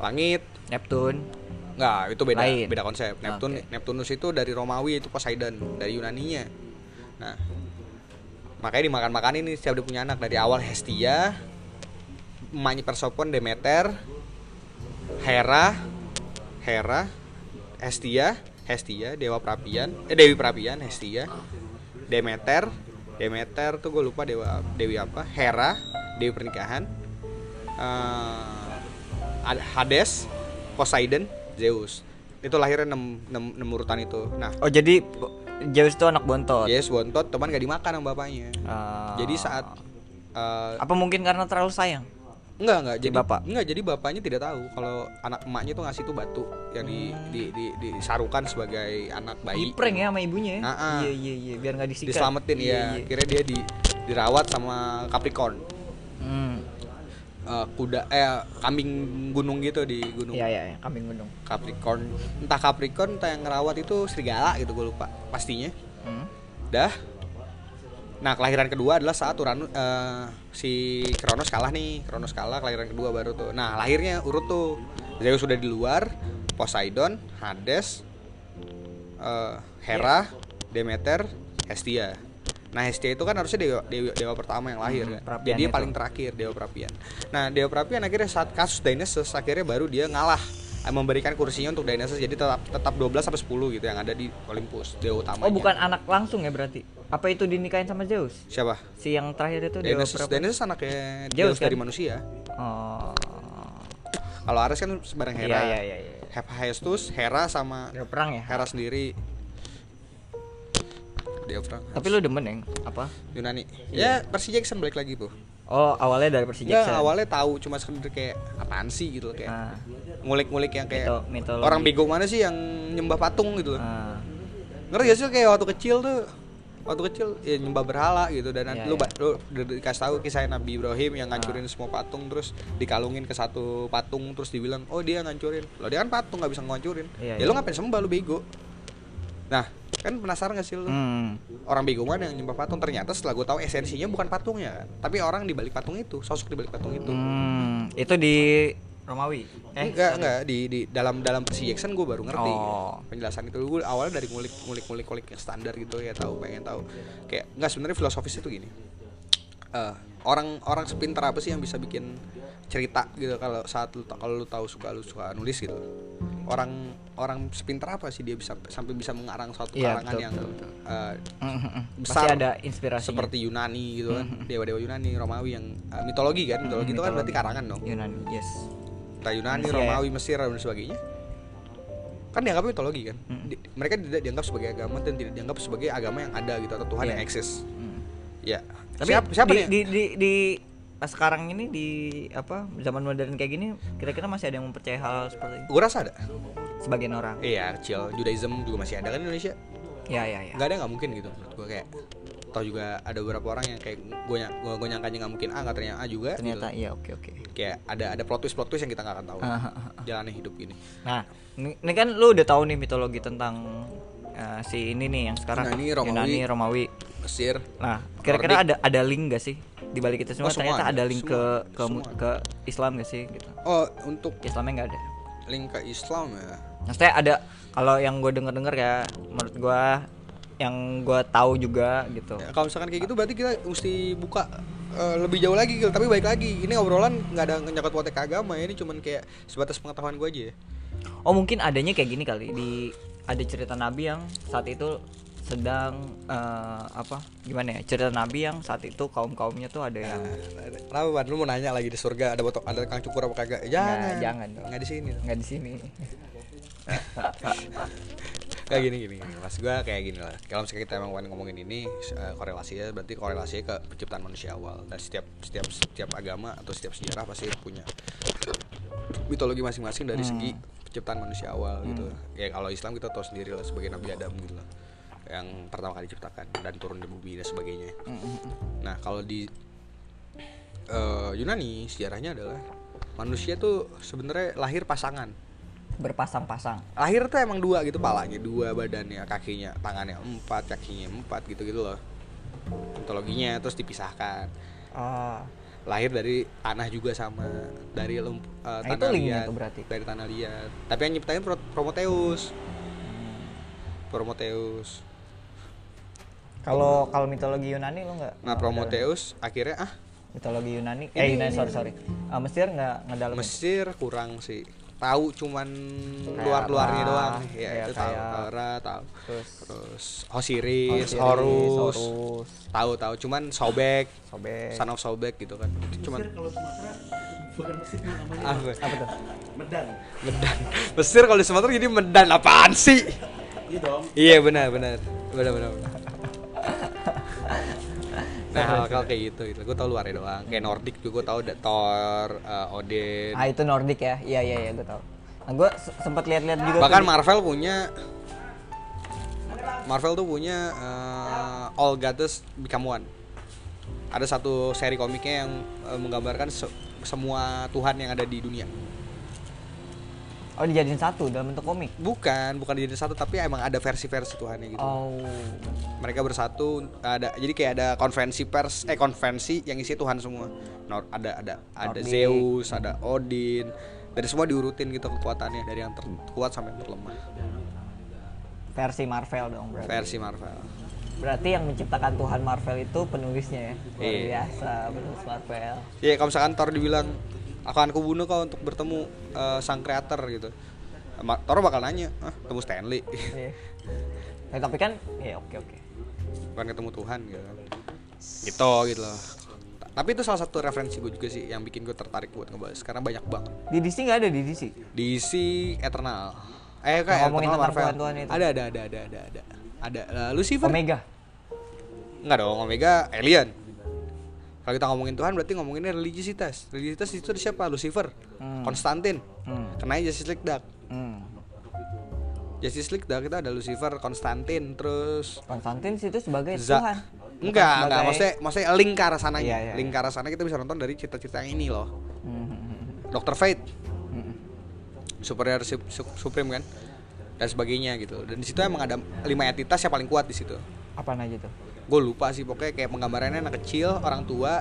Speaker 1: langit
Speaker 2: Neptune.
Speaker 1: Nggak, itu beda
Speaker 2: Lain.
Speaker 1: beda konsep. Neptun
Speaker 2: Oke.
Speaker 1: Neptunus itu dari Romawi itu Poseidon, dari Yunaninya. Nah. Makanya dimakan-makan ini setiap dia punya anak dari awal Hestia, emaknya Persephone Demeter, Hera, Hera, Hestia, Hestia, Dewa Perapian, eh Dewi Perapian, Hestia, Demeter, Demeter tuh gue lupa dewa Dewi apa, Hera, Dewi pernikahan, eh, Ad- Hades, Poseidon, Zeus. Itu lahirnya 6, 6, urutan itu. Nah,
Speaker 2: Oh, jadi Zeus itu anak bontot.
Speaker 1: Zeus bontot, teman gak dimakan sama bapaknya.
Speaker 2: Ah.
Speaker 1: Iya. Jadi saat eh,
Speaker 2: apa mungkin karena terlalu sayang?
Speaker 1: Enggak enggak
Speaker 2: Si
Speaker 1: jadi
Speaker 2: bapak?
Speaker 1: Enggak jadi bapaknya tidak tahu kalau anak emaknya tuh ngasih tuh batu yang di, di, di, disarukan sebagai anak
Speaker 2: Di
Speaker 1: bayi.
Speaker 2: prank Hmm. ya sama ibunya ya.
Speaker 1: Nah, Ah, ah.
Speaker 2: Iya iya iya biar nggak disikat.
Speaker 1: Diselamatin
Speaker 2: Iya,
Speaker 1: ya.
Speaker 2: iya.
Speaker 1: Akhirnya dia di dirawat sama Capricorn.
Speaker 2: Hmm.
Speaker 1: Eh, kuda eh kambing gunung gitu di gunung
Speaker 2: Iya iya iya, kambing gunung.
Speaker 1: Capricorn. Entah Capricorn entah yang ngerawat itu serigala gitu gue lupa pastinya.
Speaker 2: Hmm.
Speaker 1: Dah. Nah, kelahiran kedua adalah saat Uranus eh, si Kronos kalah nih. Kronos kalah kelahiran kedua baru tuh. Nah, lahirnya urut tuh. Zeus sudah di luar, Poseidon, Hades, eh, Hera, Demeter, Hestia. Nah, Hestia itu kan harusnya dewa dewa, dewa pertama yang lahir
Speaker 2: Hmm,
Speaker 1: kan?
Speaker 2: perapian
Speaker 1: Jadi dia
Speaker 2: itu.
Speaker 1: paling terakhir dewa perapian. Nah, dewa perapian akhirnya saat kasus Dionysus akhirnya baru dia ngalah eh, memberikan kursinya untuk Dionysus jadi tetap tetap 12 sampai 10 gitu yang ada di Olympus dewa utama.
Speaker 2: Oh, bukan anak langsung ya berarti. Apa itu dinikahin sama Zeus?
Speaker 1: siapa?
Speaker 2: Si yang terakhir itu dia
Speaker 1: Dionysus,
Speaker 2: berapa?
Speaker 1: Dionysus anaknya
Speaker 2: Zeus,
Speaker 1: Zeus dari
Speaker 2: kan?
Speaker 1: manusia.
Speaker 2: Oh.
Speaker 1: Kalau Ares kan sembarang Hera.
Speaker 2: Iya iya iya iya.
Speaker 1: Hephaestus, Hera sama
Speaker 2: Dia perang ya.
Speaker 1: Hera sendiri. Dia perang.
Speaker 2: Tapi lu demen yang apa?
Speaker 1: Yunani. Ya,
Speaker 2: Iya.
Speaker 1: Percy Jackson balik lagi, Bu.
Speaker 2: Oh, awalnya dari Percy
Speaker 1: Ya,
Speaker 2: Jackson.
Speaker 1: awalnya tahu cuma sekedar kayak apaan sih gitu loh, kayak
Speaker 2: Ah,
Speaker 1: ngulik-ngulik yang kayak
Speaker 2: Mito- mitologi.
Speaker 1: orang bego mana sih yang nyembah patung gitu loh.
Speaker 2: ah.
Speaker 1: Ngerti gak sih kayak waktu kecil tuh waktu kecil ya nyembah berhala gitu dan nanti
Speaker 2: Iya,
Speaker 1: lu,
Speaker 2: iya.
Speaker 1: ba- lu udah dikasih tahu kisah Nabi Ibrahim yang ngancurin semua patung terus dikalungin ke satu patung terus dibilang oh dia ngancurin lo dia kan patung nggak bisa ngancurin ya
Speaker 2: Iya, iya.
Speaker 1: lu ngapain sembah lu bego nah kan penasaran gak sih lu
Speaker 2: Hmm.
Speaker 1: orang bego mana yang nyembah patung ternyata setelah gue tahu esensinya bukan patungnya kan tapi orang di balik patung itu sosok di balik patung itu
Speaker 2: Hmm, itu di Romawi. Eh.
Speaker 1: enggak enggak di, di dalam dalam si Jackson gue baru ngerti gitu.
Speaker 2: Oh.
Speaker 1: penjelasan itu gue awalnya dari ngulik ngulik ngulik ngulik yang standar gitu ya tahu pengen tahu kayak enggak sebenarnya filosofis itu gini Eh, orang orang sepintar apa sih yang bisa bikin cerita gitu kalau saat lu ta- kalau lu tahu suka lu suka nulis gitu orang orang sepintar apa sih dia bisa sampai bisa mengarang suatu
Speaker 2: Iya,
Speaker 1: karangan
Speaker 2: betul,
Speaker 1: yang
Speaker 2: betul, betul.
Speaker 1: eh,
Speaker 2: Hmm. Pasti
Speaker 1: Besar.
Speaker 2: ada inspirasi.
Speaker 1: seperti Yunani gitu kan
Speaker 2: Mm-hmm.
Speaker 1: dewa-dewa Yunani Romawi yang eh, mitologi kan mitologi itu
Speaker 2: Iya,
Speaker 1: kan berarti karangan dong
Speaker 2: Yunani, yes.
Speaker 1: entah Yunani,
Speaker 2: Mesir ya.
Speaker 1: Romawi, Mesir dan sebagainya kan dianggap mitologi kan Di- mereka tidak dianggap sebagai agama dan tidak dianggap sebagai agama yang ada gitu atau Tuhan
Speaker 2: Iya.
Speaker 1: yang eksis
Speaker 2: Hmm.
Speaker 1: ya
Speaker 2: Tapi
Speaker 1: siapa siapa
Speaker 2: di,
Speaker 1: nih
Speaker 2: di, di, di pas sekarang ini di apa zaman modern kayak gini kira-kira masih ada yang mempercayai hal seperti itu
Speaker 1: gue rasa ada
Speaker 2: sebagian orang
Speaker 1: iya kecil Judaism juga masih ada kan di Indonesia
Speaker 2: ya ya ya
Speaker 1: nggak ada nggak mungkin gitu menurut gue kayak atau juga ada beberapa orang yang kayak gue gue gue nyangkanya nggak mungkin A nggak ternyata A juga gitu.
Speaker 2: ternyata iya oke oke
Speaker 1: kayak ada ada plot twist plot twist yang kita nggak akan tahu
Speaker 2: Ah, ah,
Speaker 1: jalannya hidup gini
Speaker 2: nah ini, ini kan lu udah tahu nih mitologi tentang eh, si ini nih yang sekarang
Speaker 1: Yunani, Romawi.
Speaker 2: Yunani, Romawi.
Speaker 1: Mesir
Speaker 2: nah kira-kira ada ada link gak sih di balik itu
Speaker 1: Oh,
Speaker 2: semua,
Speaker 1: semua
Speaker 2: ternyata
Speaker 1: ada,
Speaker 2: ada link
Speaker 1: semua ada,
Speaker 2: ke ke mu-
Speaker 1: semua
Speaker 2: ke Islam gak sih gitu
Speaker 1: oh untuk
Speaker 2: Islamnya nggak ada
Speaker 1: link ke Islam ya
Speaker 2: maksudnya ada kalau yang gue denger-denger ya menurut gue yang gue tahu juga gitu
Speaker 1: Ya, kalau misalkan kayak gitu berarti kita mesti buka eh, lebih jauh lagi Gil. tapi baik lagi ini obrolan nggak ada nyakot potek agama ya ini cuman kayak sebatas pengetahuan gue aja ya.
Speaker 2: Oh mungkin adanya kayak gini kali di ada cerita nabi yang saat itu sedang eh, apa gimana ya cerita nabi yang saat itu kaum kaumnya tuh ada yang
Speaker 1: Nah, Kenapa Ban? Lu mau nanya lagi di surga ada botol ada kang cukur apa kagak? Jangan.
Speaker 2: jangan dong.
Speaker 1: Nggak di sini.
Speaker 2: nggak di sini *laughs*
Speaker 1: Kayak gini gini. gini. Mas gua kayak gini lah. Kalau misalkan kita emang pengen ngomongin ini eh, korelasinya berarti korelasinya ke penciptaan manusia awal. Dan setiap setiap setiap agama atau setiap sejarah pasti punya mitologi masing-masing dari segi penciptaan manusia awal gitu. Ya kalau Islam kita tahu sendiri lah sebagai Nabi Adam gitu lah. Yang pertama kali diciptakan dan turun di bumi dan sebagainya. Nah, kalau di eh, Yunani sejarahnya adalah manusia tuh sebenarnya lahir pasangan.
Speaker 2: berpasang-pasang
Speaker 1: Lahir tuh emang dua gitu palanya dua, badannya, kakinya, tangannya empat, kakinya empat gitu-gitu loh. Mitologinya terus dipisahkan.
Speaker 2: ah
Speaker 1: Lahir dari tanah juga sama dari lump, eh,
Speaker 2: Nah, itu
Speaker 1: tanah
Speaker 2: linknya
Speaker 1: liat,
Speaker 2: tuh berarti.
Speaker 1: dari tanah liat. Tapi yang nyiptain Pro- Prometheus.
Speaker 2: Hmm.
Speaker 1: Prometheus.
Speaker 2: kalau kalau mitologi Yunani lo nggak
Speaker 1: Nah,
Speaker 2: nggak
Speaker 1: Prometheus akhirnya ah
Speaker 2: dalam. mitologi Yunani eh Yunani sorry sorry Ah, Mesir nggak ngedalamin
Speaker 1: Mesir kurang sih tahu cuman luar-luarnya
Speaker 2: Ra,
Speaker 1: doang ya,
Speaker 2: ya,
Speaker 1: itu tahu
Speaker 2: kayak-
Speaker 1: tahu Ra, tahu
Speaker 2: terus
Speaker 1: terus Osiris,
Speaker 2: Osiris,
Speaker 1: Horus
Speaker 2: Horus
Speaker 1: tahu tahu cuman sobek
Speaker 2: sobek
Speaker 1: son of sobek gitu kan itu
Speaker 4: Mesir
Speaker 1: cuman
Speaker 4: kalau Sumatera bukan Mesir itu namanya
Speaker 1: ah, gue-
Speaker 2: apa tuh
Speaker 4: Medan.
Speaker 1: Medan Mesir kalau di Sumatera jadi Medan apaan sih
Speaker 4: Iya dong.
Speaker 1: iya benar benar benar benar benar. nah hal hal kayak gitu gitu gue tahu luarnya doang kayak Nordic juga gue tahu ada Thor eh, Odin
Speaker 2: ah itu Nordik ya iya iya iya gue tau nah, gue se- sempet lihat-lihat juga tuh
Speaker 1: bahkan
Speaker 2: di-
Speaker 1: Marvel punya Marvel tuh punya eh, All Goddess Become One ada satu seri komiknya yang eh, menggambarkan se- semua Tuhan yang ada di dunia
Speaker 2: oh dijadiin satu dalam bentuk komik
Speaker 1: bukan bukan jadi satu tapi emang ada versi-versi Tuhannya gitu
Speaker 2: oh
Speaker 1: mereka bersatu ada jadi kayak ada konvensi pers eh konvensi yang isi Tuhan semua Nor- ada ada ada
Speaker 2: Nordic.
Speaker 1: Zeus ada Odin dari semua diurutin gitu kekuatannya dari yang terkuat sampai yang terlemah
Speaker 2: versi Marvel dong berarti
Speaker 1: versi Marvel
Speaker 2: berarti yang menciptakan Tuhan Marvel itu penulisnya ya luar
Speaker 1: Iya.
Speaker 2: biasa penulis Marvel
Speaker 1: Iya, kalau misalkan Thor dibilang akan aku bunuh kau untuk bertemu eh, sang kreator gitu. Ma- Thor bakal nanya, "Hah, ketemu Stanley, *laughs*
Speaker 2: Iya. Nah, tapi kan ya oke oke
Speaker 1: bukan ketemu Tuhan gitu." kan. Gitu gitu loh. Ta- Tapi itu salah satu referensi gue juga sih yang bikin gue tertarik buat ngebahas karena banyak banget.
Speaker 2: di DC nggak ada di DC
Speaker 1: Diisi Eternal. Eh
Speaker 2: Yang
Speaker 1: kayak Eternal
Speaker 2: ngomongin tentang
Speaker 1: Marvel.
Speaker 2: Tuhan-Tuhan itu.
Speaker 1: Ada ada ada ada ada ada. Ada eh, Lucifer.
Speaker 2: Omega
Speaker 1: Enggak dong, Omega alien. Kalau kita ngomongin Tuhan berarti ngomonginnya religiositas. Religiositas itu ada siapa? Lucifer,
Speaker 2: Hmm.
Speaker 1: Konstantin.
Speaker 2: hmm.
Speaker 1: Kenanya Justice League Dark.
Speaker 2: hmm.
Speaker 1: Justice League dah kita ada Lucifer, Konstantin, terus
Speaker 2: Konstantin situ sebagai Tuhan
Speaker 1: Za. Enggak,
Speaker 2: Bukan
Speaker 1: enggak
Speaker 2: sebagai-
Speaker 1: maksudnya maksudnya link ke arah sananya.
Speaker 2: Iya, iya,
Speaker 1: Link
Speaker 2: iya.
Speaker 1: ke arah sana kita bisa nonton dari cerita-cerita yang ini loh.
Speaker 2: Hmm, hmm, hmm,
Speaker 1: Dr. Fate,
Speaker 2: hmm, hmm.
Speaker 1: Superior Sup- Sup- Supreme kan dan sebagainya gitu. Dan di situ emang ada lima entitas yang paling kuat di situ.
Speaker 2: apaan aja tuh
Speaker 1: Gue lupa sih pokoknya kayak penggambarannya anak kecil, orang tua,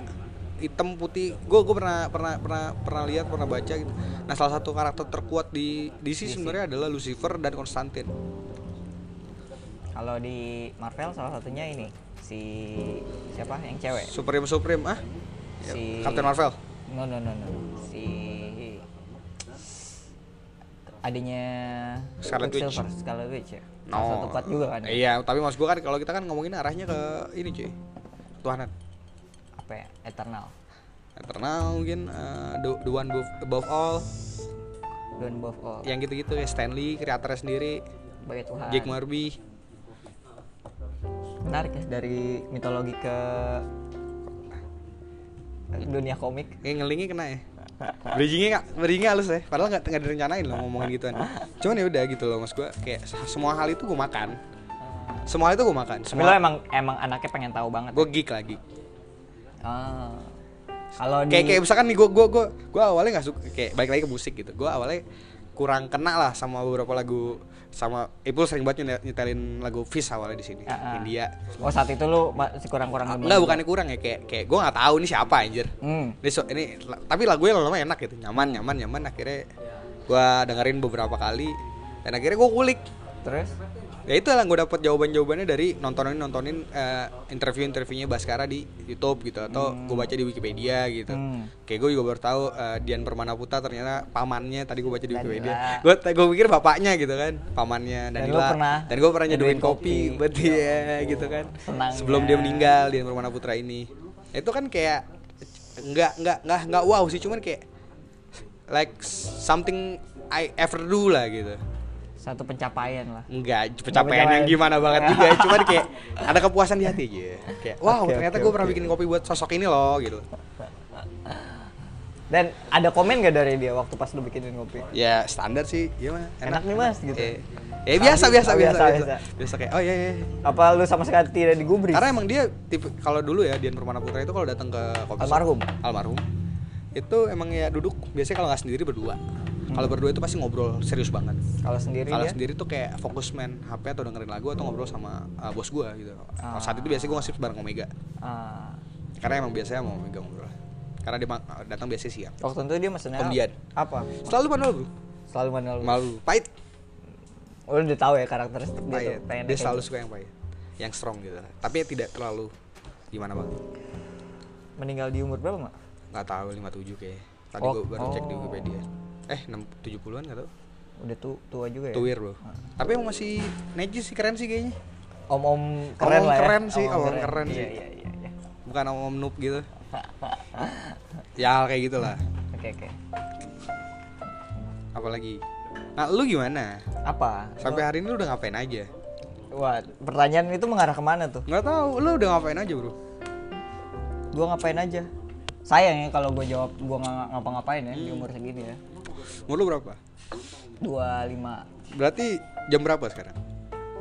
Speaker 1: hitam putih. Gue gue pernah pernah pernah pernah lihat, pernah baca gitu. Nah, salah satu karakter terkuat di DC sebenarnya adalah Lucifer dan Konstantin.
Speaker 2: kalau di Marvel salah satunya ini si siapa yang cewek
Speaker 1: Supreme Supreme ah. Ya,
Speaker 2: Si-
Speaker 1: Captain Marvel.
Speaker 2: no no no no si adanya
Speaker 1: Scarlet Witch.
Speaker 2: Quicksilver, Scarlet Witch ya salah satu kuat juga kan
Speaker 1: Iya, tapi maksud gua kan kalau kita kan ngomongin arahnya ke ini cuy. Tuhanan.
Speaker 2: apa ya Eternal
Speaker 1: Eternal mungkin eh, the, the one above, above all
Speaker 2: Don't Above All
Speaker 1: yang gitu-gitu ya Stanley kreatornya sendiri
Speaker 2: sebagai Tuhan
Speaker 1: Jake Marby
Speaker 2: menarik ya dari mitologi ke dunia komik
Speaker 1: kayak ngelingi kena ya bridgingnya nggak bridgingnya halus ya padahal nggak nggak direncanain loh ngomongin gituan cuman ya udah gitu loh mas gua kayak semua hal itu gua makan semua hal itu gua makan
Speaker 2: tapi lo
Speaker 1: semua
Speaker 2: emang emang anaknya pengen tahu banget
Speaker 1: gua geek lagi
Speaker 2: Ah. kalau di
Speaker 1: kayak kayak misalkan nih gue gue gue gue awalnya nggak suka kayak balik lagi ke musik gitu gue awalnya kurang kena lah sama beberapa lagu sama Ipul sering banget nyet- nyetelin lagu Fish awalnya di sini
Speaker 2: Ah, ah.
Speaker 1: India
Speaker 2: oh saat itu lo masih kurang-kurang
Speaker 1: Ah,
Speaker 2: lebih.
Speaker 1: nggak bukannya kurang ya kayak kayak gue nggak tahu ini siapa anjir
Speaker 2: hmm.
Speaker 1: ini, so- ini la- tapi lagunya lama-lama enak gitu nyaman nyaman nyaman akhirnya gue dengerin beberapa kali dan akhirnya gue kulik
Speaker 2: terus
Speaker 1: ya itu lah gue dapet jawaban jawabannya dari nontonin nontonin interview interviewnya Baskara di YouTube gitu atau gue baca di Wikipedia gitu
Speaker 2: Hmm.
Speaker 1: kayak gue juga baru tahu eh, Dian Permana Putra ternyata pamannya tadi gue baca di Wikipedia
Speaker 2: Danila.
Speaker 1: gue gue pikir bapaknya gitu kan pamannya
Speaker 2: Dan
Speaker 1: Danila
Speaker 2: lu pernah
Speaker 1: dan gue pernah nyeduin
Speaker 2: nyeduin
Speaker 1: kopi
Speaker 2: kopi. Ya
Speaker 1: buat dia gitu kan
Speaker 2: senangnya.
Speaker 1: sebelum dia meninggal Dian Permana Putra ini itu kan kayak nggak nggak nggak nggak wow sih cuman kayak like something I ever do lah gitu
Speaker 2: satu pencapaian lah
Speaker 1: Enggak, pencapaian yang
Speaker 2: pencapaian.
Speaker 1: gimana banget
Speaker 2: *laughs*
Speaker 1: juga Cuman kayak ada kepuasan di hati aja Kayak, wow
Speaker 2: Oke,
Speaker 1: ternyata
Speaker 2: oke,
Speaker 1: gue pernah
Speaker 2: oke.
Speaker 1: bikin kopi buat sosok ini loh gitu
Speaker 2: Dan ada komen gak dari dia waktu pas lu bikinin kopi?
Speaker 1: Ya standar sih, gimana?
Speaker 2: Enak nih, Mas, gitu.
Speaker 1: Eh, eh, biasa, biasa, biasa,
Speaker 2: Oh, biasa,
Speaker 1: biasa, biasa,
Speaker 2: biasa.
Speaker 1: kayak, oh iya, iya.
Speaker 2: Apa lu sama sekali tidak digubris?
Speaker 1: Karena emang dia tipe kalau dulu ya Dian Permana Putra itu kalau datang ke kopi shop,
Speaker 2: Almarhum.
Speaker 1: almarhum itu emang ya duduk biasanya kalau nggak sendiri berdua. Kalau berdua itu pasti ngobrol serius banget.
Speaker 2: Kalau sendiri ya?
Speaker 1: Kalau
Speaker 2: Hmm. dia?
Speaker 1: sendiri tuh kayak fokus main HP atau dengerin lagu atau ngobrol sama uh, bos gua gitu. Kalau Saat itu biasanya gua ngasih bareng Omega.
Speaker 2: Ah.
Speaker 1: Karena emang biasanya mau Omega ngobrol. Karena dia ma- datang biasanya siang.
Speaker 2: Waktu itu dia mesennya
Speaker 1: Om Dian.
Speaker 2: apa?
Speaker 1: Selalu manual bro.
Speaker 2: Selalu manual.
Speaker 1: Malu. Pahit.
Speaker 2: Oh, lu udah tahu ya karakteristik dia
Speaker 1: Pahit.
Speaker 2: tuh. pengen
Speaker 1: Ah, iya. Dia
Speaker 2: kayak
Speaker 1: selalu
Speaker 2: gitu.
Speaker 1: suka yang pahit. Yang strong gitu. Tapi tidak terlalu gimana banget.
Speaker 2: gitu. meninggal di umur berapa, Mak?
Speaker 1: Nggak tahu 57 kayaknya. Tadi
Speaker 2: Oh.
Speaker 1: gua baru cek di
Speaker 2: Oh.
Speaker 1: Wikipedia. Eh, 6, 70-an nggak tahu.
Speaker 2: Udah tu tua juga ya.
Speaker 1: Tuwir, Bro. Tapi emang masih najis sih keren sih kayaknya.
Speaker 2: Om-om keren
Speaker 1: Om-om
Speaker 2: lah ya.
Speaker 1: keren sih,
Speaker 2: Om-om
Speaker 1: om-om keren sih.
Speaker 2: Iya, iya, iya, iya. *laughs*
Speaker 1: Bukan om noob gitu. ya kayak gitulah.
Speaker 2: Oke, oke.
Speaker 1: Apalagi. Nah, lu gimana?
Speaker 2: Apa?
Speaker 1: Sampai hari ini lu udah ngapain aja?
Speaker 2: Wah, pertanyaan itu mengarah kemana tuh?
Speaker 1: Nggak tahu, lu udah ngapain aja, Bro?
Speaker 2: Gua ngapain aja? Sayang ya kalau gua jawab gua nggak ngapa-ngapain ya di
Speaker 1: Hmm.
Speaker 2: umur segini ya.
Speaker 1: Umur lu berapa?
Speaker 2: 25
Speaker 1: Berarti jam berapa sekarang?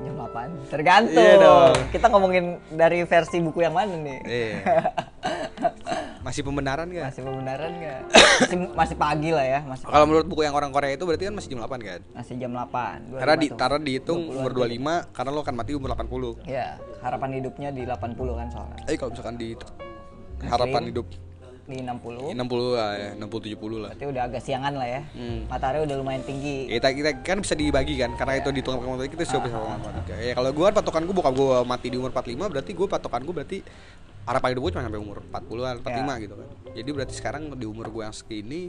Speaker 2: jam 8. Tergantung.
Speaker 1: Iya dong.
Speaker 2: Kita ngomongin dari versi buku yang mana nih?
Speaker 1: Iya. Masih pembenaran gak?
Speaker 2: *laughs* Masih pembenaran nggak? masih, masih pagi lah ya, masih
Speaker 1: Kalau menurut buku yang orang Korea itu berarti kan masih jam 8 kan?
Speaker 2: masih jam 8.
Speaker 1: Karena di,
Speaker 2: 25 tuh.
Speaker 1: karena dihitung umur 25 karena lo akan mati umur 80.
Speaker 2: Ya, harapan hidupnya di 80 kan soalnya.
Speaker 1: Eh kalau misalkan di harapan hidup
Speaker 2: Di 60.
Speaker 1: 60 lah ya, 60 70 lah.
Speaker 2: Berarti udah agak siangan lah ya.
Speaker 1: Hmm.
Speaker 2: Matahari udah lumayan tinggi.
Speaker 1: Kita, kita kan bisa dibagi kan karena itu dihitung pakai matematika kita sudah bisa pakai matematika. Ya kalau gua kan patokan gua bukan gua mati di umur 45 berarti gua patokan gua berarti harapan hidup gua cuma sampai umur 40-an, 45
Speaker 2: Iya.
Speaker 1: gitu kan. Jadi berarti sekarang di umur gua yang segini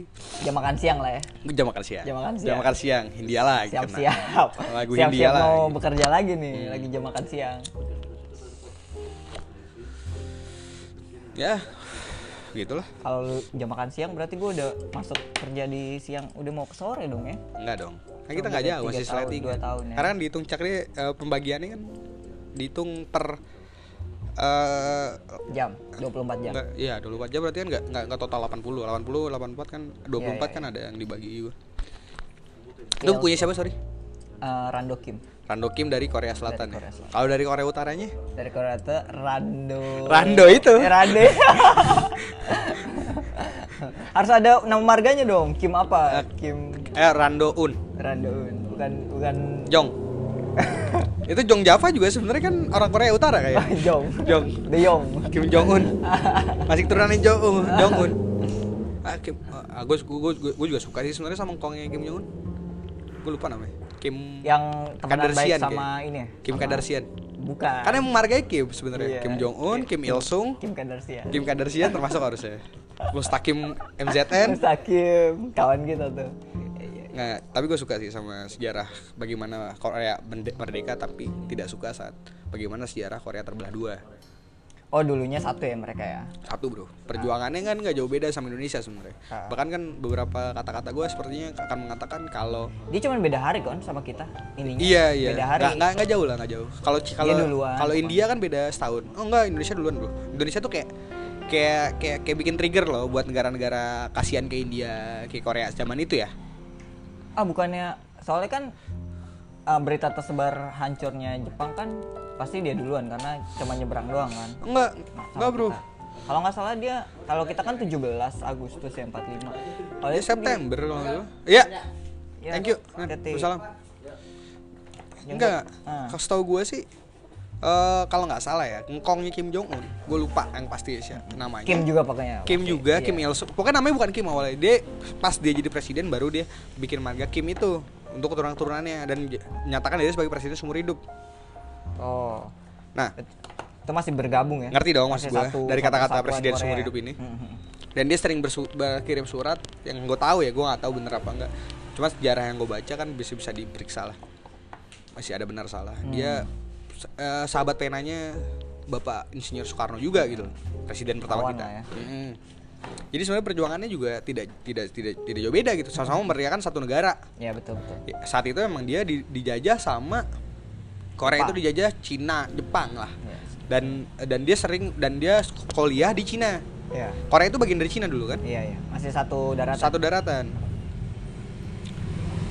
Speaker 2: Jam makan siang lah ya.
Speaker 1: gua jam makan siang.
Speaker 2: Jam makan siang.
Speaker 1: Jam makan siang. Hindia lah gitu. kena.
Speaker 2: Siap-siap.
Speaker 1: Lagu Hindia
Speaker 2: Siap-siap
Speaker 1: lah.
Speaker 2: mau
Speaker 1: gitu.
Speaker 2: bekerja lagi nih, lagi jam makan siang.
Speaker 1: Ya. Gitulah.
Speaker 2: Kalau lu jam makan siang berarti gue udah masuk kerja di siang, udah mau ke sore dong ya.
Speaker 1: Enggak dong. Kan kita
Speaker 2: Cuma
Speaker 1: nggak
Speaker 2: beda
Speaker 1: jauh
Speaker 2: tiga
Speaker 1: masih
Speaker 2: tahun,
Speaker 1: sleting.
Speaker 2: dua tahun ya.
Speaker 1: Karena kan dihitung cakri eh, pembagiannya kan dihitung per eh
Speaker 2: Jam 24 jam.
Speaker 1: enggak iya 24 jam berarti kan enggak enggak, enggak total 80. 80 84 kan 24
Speaker 2: Iya, iya,
Speaker 1: kan ada yang dibagi juga.
Speaker 2: Iya.
Speaker 1: Lu punya siapa sorry?
Speaker 2: Eh, Rando Kim
Speaker 1: Rando Kim dari Korea Selatan
Speaker 2: Korea
Speaker 1: ya. Kalau dari Korea Utaranya?
Speaker 2: dari Korea itu Rando.
Speaker 1: Rando itu.
Speaker 2: Eh, Rande. *laughs* Harus ada nama marganya dong. Kim apa? Kim
Speaker 1: Eh Rando Un.
Speaker 2: Randoun. Bukan bukan *laughs*
Speaker 1: Jong. itu Jong Java juga sebenarnya kan orang Korea Utara kayak.
Speaker 2: Jong.
Speaker 1: Jong.
Speaker 2: De Jong.
Speaker 1: Kim Jong Un. Masih keturunan Jong Un. Jong Un. Ah, Kim, ah, gue, gue, gue, gue juga suka sih sebenarnya sama kongnya Kim Jong Un. Gue lupa namanya. Kim
Speaker 2: Yang Ya, temenan baik
Speaker 1: Kardashian
Speaker 2: sama
Speaker 1: kayaknya. Kan
Speaker 2: ini ya?
Speaker 1: Kim Kardashian.
Speaker 2: Bukan.
Speaker 1: Karena emang marganya Kim sebenarnya.
Speaker 2: Iya.
Speaker 1: Kim Jong Un, Kim Il Sung,
Speaker 2: Kim Kardashian.
Speaker 1: Kim Kardashian termasuk harusnya. Mustakim MZN.
Speaker 2: Terus Hakim, kawan kita tuh.
Speaker 1: Nggak, tapi gue suka sih sama sejarah bagaimana Korea bende- merdeka tapi tidak suka saat bagaimana sejarah Korea terbelah dua.
Speaker 2: Oh dulunya satu ya mereka ya.
Speaker 1: satu bro perjuangannya kan nggak jauh beda sama Indonesia sebenarnya
Speaker 2: Ah.
Speaker 1: bahkan kan beberapa kata-kata gue sepertinya akan mengatakan kalau
Speaker 2: Dia cuma beda hari kan sama kita ininya.
Speaker 1: iya iya
Speaker 2: Beda hari. Iya,
Speaker 1: nggak nggak nggak jauh lah nggak jauh kalau kalau
Speaker 2: duluan.
Speaker 1: kalau India kan beda setahun oh enggak Indonesia duluan bro Indonesia tuh kayak kayak kayak kayak bikin trigger loh buat negara-negara kasihan ke India ke Korea zaman itu ya
Speaker 2: Ah bukannya soalnya kan ah, berita tersebar hancurnya Jepang kan pasti dia duluan karena cuma nyebrang doang kan.
Speaker 1: enggak
Speaker 2: Sama
Speaker 1: enggak bro
Speaker 2: kita. Kalau nggak salah dia kalau kita kan 17 Agustus ya 45. Kalau
Speaker 1: ya
Speaker 2: dia kan,
Speaker 1: September kalau nggak salah. Iya.
Speaker 2: Ya,
Speaker 1: Thank you. Nah,
Speaker 2: ketik.
Speaker 1: Salam.
Speaker 2: Yang
Speaker 1: Enggak.
Speaker 2: buat- ah.
Speaker 1: Kalau setahu gue sih eh kalau nggak salah ya, ngkongnya Kim Jong Un, gue lupa yang pasti sih namanya.
Speaker 2: Kim juga pakainya.
Speaker 1: Kim
Speaker 2: Oke,
Speaker 1: juga,
Speaker 2: iya.
Speaker 1: Kim ya. Il Sung. Pokoknya namanya bukan Kim awalnya. Dia pas dia jadi presiden baru dia bikin marga Kim itu untuk keturunan-keturunannya dan j- nyatakan dia sebagai presiden seumur hidup.
Speaker 2: Oh.
Speaker 1: Nah,
Speaker 2: Itu masih bergabung ya.
Speaker 1: ngerti dong maksud
Speaker 2: Masih
Speaker 1: gue
Speaker 2: satu
Speaker 1: dari kata-kata
Speaker 2: persatuan
Speaker 1: presiden
Speaker 2: Korea.
Speaker 1: seumur hidup ini.
Speaker 2: Mhm.
Speaker 1: dan dia sering bersu- berkirim surat yang gue tahu ya gue nggak tahu bener apa enggak cuma sejarah yang gue baca kan bisa bisa diperiksa lah masih ada benar salah
Speaker 2: Hmm.
Speaker 1: dia eh, sahabat penanya bapak insinyur Soekarno juga gitu loh, presiden pertama
Speaker 2: Kawan
Speaker 1: kita
Speaker 2: lah ya.
Speaker 1: Mm-mm. jadi sebenarnya perjuangannya juga tidak tidak tidak tidak jauh beda gitu
Speaker 2: Hmm.
Speaker 1: sama-sama memeriahkan satu negara
Speaker 2: Ya betul betul.
Speaker 1: Ya, saat itu emang dia di- dijajah sama Korea itu
Speaker 2: Jepang.
Speaker 1: dijajah Cina Jepang lah
Speaker 2: Yes.
Speaker 1: dan dan dia sering dan dia kuliah di Cina
Speaker 2: Iya.
Speaker 1: Korea itu bagian dari Cina dulu kan?
Speaker 2: Iya, iya. Masih satu daratan.
Speaker 1: Satu daratan.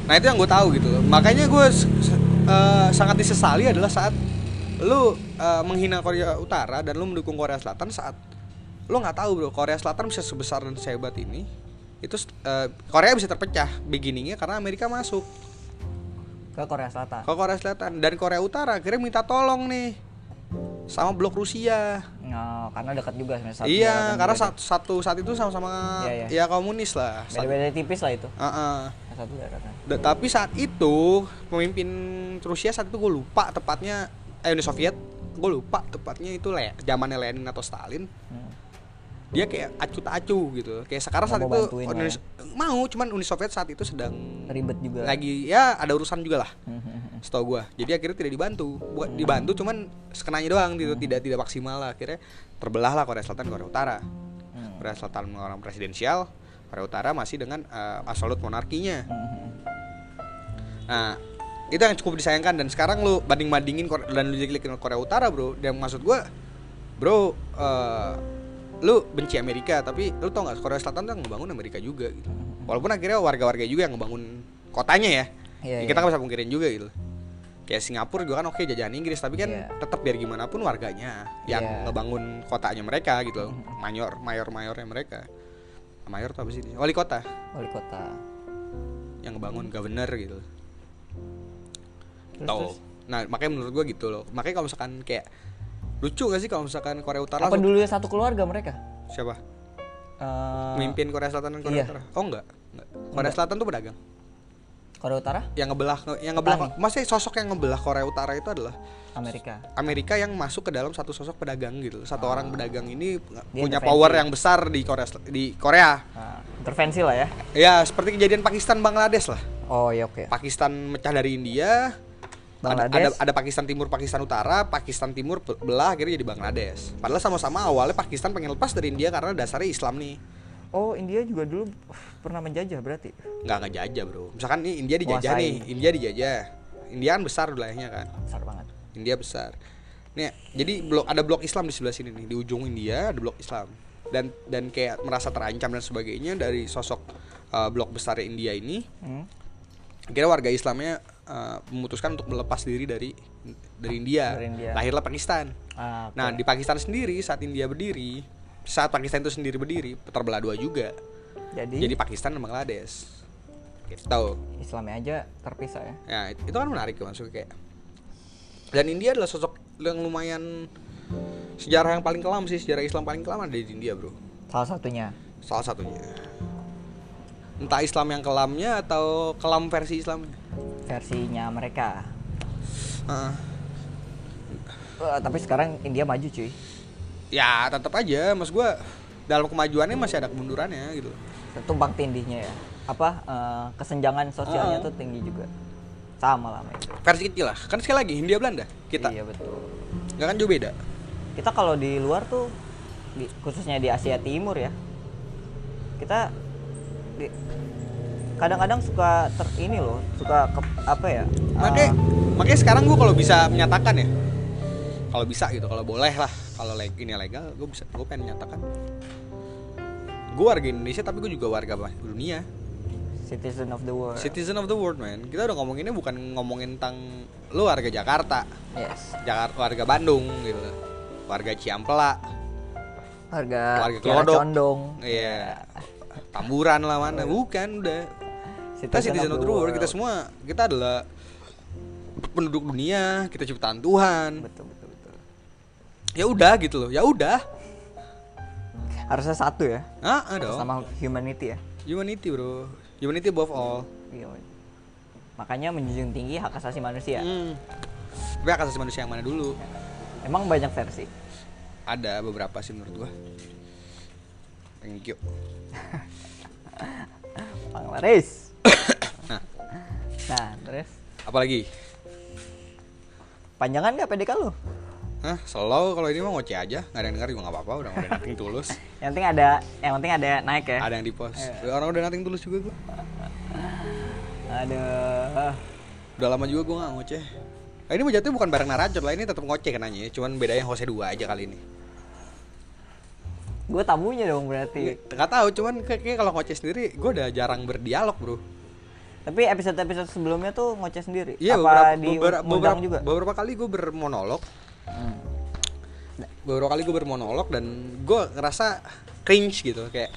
Speaker 1: Nah itu yang gue tahu gitu. Makanya gue s- s- eh, sangat disesali adalah saat lu eh, menghina Korea Utara dan lu mendukung Korea Selatan saat lu nggak tahu bro Korea Selatan bisa sebesar dan sehebat ini itu eh, Korea bisa terpecah beginningnya karena Amerika masuk
Speaker 2: ke Korea Selatan.
Speaker 1: ke Korea Selatan dan Korea Utara akhirnya minta tolong nih sama blok Rusia
Speaker 2: No, Oh, karena dekat juga sama satu
Speaker 1: iya
Speaker 2: daratan
Speaker 1: karena
Speaker 2: juga.
Speaker 1: satu, satu saat itu sama-sama
Speaker 2: Iya,
Speaker 1: ya komunis lah Sat-
Speaker 2: beda-beda tipis lah itu.
Speaker 1: Ah-ah.
Speaker 2: Satu kan. daratan.
Speaker 1: Da- tapi saat itu pemimpin Rusia saat itu gue lupa tepatnya eh Uni Soviet gue lupa tepatnya itu le zamannya Lenin atau Stalin
Speaker 2: Hmm.
Speaker 1: dia kayak acu tak acu gitu kayak sekarang
Speaker 2: Nggak
Speaker 1: saat
Speaker 2: mau
Speaker 1: itu
Speaker 2: bantuin
Speaker 1: Uni-
Speaker 2: lah ya.
Speaker 1: mau cuman Uni Soviet saat itu sedang
Speaker 2: Ribet juga.
Speaker 1: lagi ya ada urusan juga lah
Speaker 2: Hmm.
Speaker 1: setahu gua jadi akhirnya tidak dibantu buat dibantu cuman sekenanya doang gitu
Speaker 2: Hmm.
Speaker 1: tidak tidak maksimal lah akhirnya terbelah lah Korea Selatan Korea Utara Korea Selatan orang presidensial Korea Utara masih dengan eh, absolut monarkinya
Speaker 2: Hmm.
Speaker 1: nah itu yang cukup disayangkan dan sekarang lu banding bandingin dan lu jelekin Korea Utara bro dan maksud gua bro eh, lu benci Amerika tapi lu tau nggak Korea Selatan tuh yang ngebangun Amerika juga gitu walaupun akhirnya warga-warga juga yang ngebangun kotanya ya Ya,
Speaker 2: Iya, iya.
Speaker 1: kita nggak bisa pungkirin juga gitu kayak Singapura juga kan oke jajahan Inggris tapi kan
Speaker 2: Iya.
Speaker 1: tetap biar gimana pun warganya yang
Speaker 2: Iya.
Speaker 1: ngebangun kotanya mereka gitu loh. mayor mayor mayornya mereka mayor tuh apa sih dia? wali kota
Speaker 2: wali kota.
Speaker 1: yang ngebangun governor gitu
Speaker 2: Terus,
Speaker 1: tau
Speaker 2: terus.
Speaker 1: nah makanya menurut gua gitu loh makanya kalau misalkan kayak lucu gak sih kalau misalkan Korea Utara
Speaker 2: Apa
Speaker 1: langsung-
Speaker 2: dulu satu keluarga mereka?
Speaker 1: siapa
Speaker 2: Eh,
Speaker 1: mimpin Korea Selatan dan Korea
Speaker 2: iya.
Speaker 1: Utara oh enggak, enggak. Korea Selatan tuh pedagang
Speaker 2: Korea Utara?
Speaker 1: yang ngebelah yang ngebelah
Speaker 2: Petani.
Speaker 1: masih sosok yang ngebelah Korea Utara itu adalah
Speaker 2: Amerika.
Speaker 1: Amerika yang masuk ke dalam satu sosok pedagang gitu. Satu orang pedagang ini punya
Speaker 2: Ah. intervensi.
Speaker 1: power yang besar di Korea Sel- di Korea.
Speaker 2: Nah, intervensi lah ya.
Speaker 1: Ya, seperti kejadian Pakistan Bangladesh lah.
Speaker 2: Oh, iya oke.
Speaker 1: Pakistan mecah dari India. Ada, ada,
Speaker 2: Bangladesh.
Speaker 1: ada Pakistan Timur, Pakistan Utara, Pakistan Timur pe- belah akhirnya jadi Bangladesh. Padahal sama-sama awalnya Pakistan pengen lepas dari India karena dasarnya Islam nih.
Speaker 2: Oh, India juga dulu uh, pernah menjajah berarti.
Speaker 1: Nggak ngejajah, Bro. Misalkan nih India dijajah
Speaker 2: Kuasain.
Speaker 1: nih, India dijajah. India kan besar wilayahnya kan.
Speaker 2: Besar banget.
Speaker 1: India besar. Nih, jadi blok ada blok Islam di sebelah sini nih, di ujung India ada blok Islam. Dan dan kayak merasa terancam dan sebagainya dari sosok uh, blok besar India ini,
Speaker 2: Hmm.
Speaker 1: akhirnya warga Islamnya uh, memutuskan untuk melepas diri dari dari India.
Speaker 2: Dari India.
Speaker 1: Lahirlah Pakistan.
Speaker 2: Ah, oke.
Speaker 1: Nah, di Pakistan sendiri saat India berdiri, saat Pakistan itu sendiri berdiri, terbelah dua juga.
Speaker 2: jadi,
Speaker 1: Jadi Pakistan dan Bangladesh. Gitu.
Speaker 2: Islamnya aja terpisah ya.
Speaker 1: Ya, it- itu kan menarik ya, maksudnya kayak. Dan India adalah sosok yang lumayan sejarah yang paling kelam sih, sejarah Islam paling kelam ada di India, Bro.
Speaker 2: Salah satunya.
Speaker 1: Salah satunya. Entah Islam yang kelamnya atau kelam versi Islamnya.
Speaker 2: Versinya mereka.
Speaker 1: Heeh.
Speaker 2: Eh, tapi sekarang India maju cuy.
Speaker 1: Ya, tetap aja Mas gua dalam kemajuannya masih ada kemundurannya gitu.
Speaker 2: Tumpang tindihnya ya. Apa eh, kesenjangan sosialnya
Speaker 1: Ah.
Speaker 2: tuh tinggi juga. Sama lah sama itu.
Speaker 1: Versi kecil lah. Kan sekali lagi Hindia Belanda kita.
Speaker 2: Iya betul.
Speaker 1: nggak kan jauh beda.
Speaker 2: kita kalau di luar tuh di- khususnya di Asia Timur ya kita di- kadang-kadang suka ter ini loh suka ke, apa ya
Speaker 1: Makanya
Speaker 2: eh,
Speaker 1: makanya sekarang gua kalau bisa menyatakan ya. Kalau bisa gitu, kalau boleh lah. Kalau leg ini legal, gue bisa gue pengen menyatakan. Gue warga Indonesia tapi gue juga warga bah- dunia.
Speaker 2: citizen of the world
Speaker 1: Citizen of the world, man. Kita udah ngomonginnya bukan ngomongin tentang lu warga Jakarta,
Speaker 2: yes
Speaker 1: Jakarta warga Bandung gitu. Warga Ciampela,
Speaker 2: harga
Speaker 1: warga
Speaker 2: Kiara
Speaker 1: Glodok.
Speaker 2: condong
Speaker 1: Iya. Tamburan lah mana. Bukan udah. Kita citizen of the world, kita semua kita adalah penduduk dunia, kita ciptaan Tuhan.
Speaker 2: betul betul betul
Speaker 1: Ya udah gitu loh. Ya udah.
Speaker 2: harusnya satu ya
Speaker 1: Ah, ah dong.
Speaker 2: sama humanity ya
Speaker 1: Humanity bro, humanity above all.
Speaker 2: Gila. makanya menjunjung tinggi hak asasi manusia
Speaker 1: Hmm. Tapi hak asasi manusia yang mana dulu?
Speaker 2: emang banyak versi
Speaker 1: Ada beberapa sih menurut gua. Thank you.
Speaker 2: Bangladesh
Speaker 1: *coughs* Nah,
Speaker 2: nah terus
Speaker 1: apalagi?
Speaker 2: panjangan nggak PDK lu
Speaker 1: Hah, slow kalau ini mah ngoceh aja, nggak ada yang denger juga nggak apa-apa, udah udah nating tulus.
Speaker 2: yang penting ada yang penting ada naik ya
Speaker 1: Ada yang di post. Orang udah nating tulus juga gua.
Speaker 2: aduh
Speaker 1: Udah lama juga gua nggak ngoceh. Nah, ini mah jatuhnya bukan kan bareng naracot lah, ini tetap ngoceh kenanya ya, cuman bedanya hostnya dua aja kali ini.
Speaker 2: Gue tamunya dong berarti.
Speaker 1: Nggak tahu, cuman kayaknya kalau ngoceh sendiri gue udah jarang berdialog, Bro.
Speaker 2: Tapi episode-episode sebelumnya tuh ngoceh sendiri.
Speaker 1: Iya, beberapa,
Speaker 2: Apa di
Speaker 1: beberapa,
Speaker 2: ngundang
Speaker 1: beberapa-
Speaker 2: juga?
Speaker 1: beberapa kali gue bermonolog.
Speaker 2: Hmm.
Speaker 1: Beberapa kali gue bermonolog dan gue ngerasa cringe gitu, kayak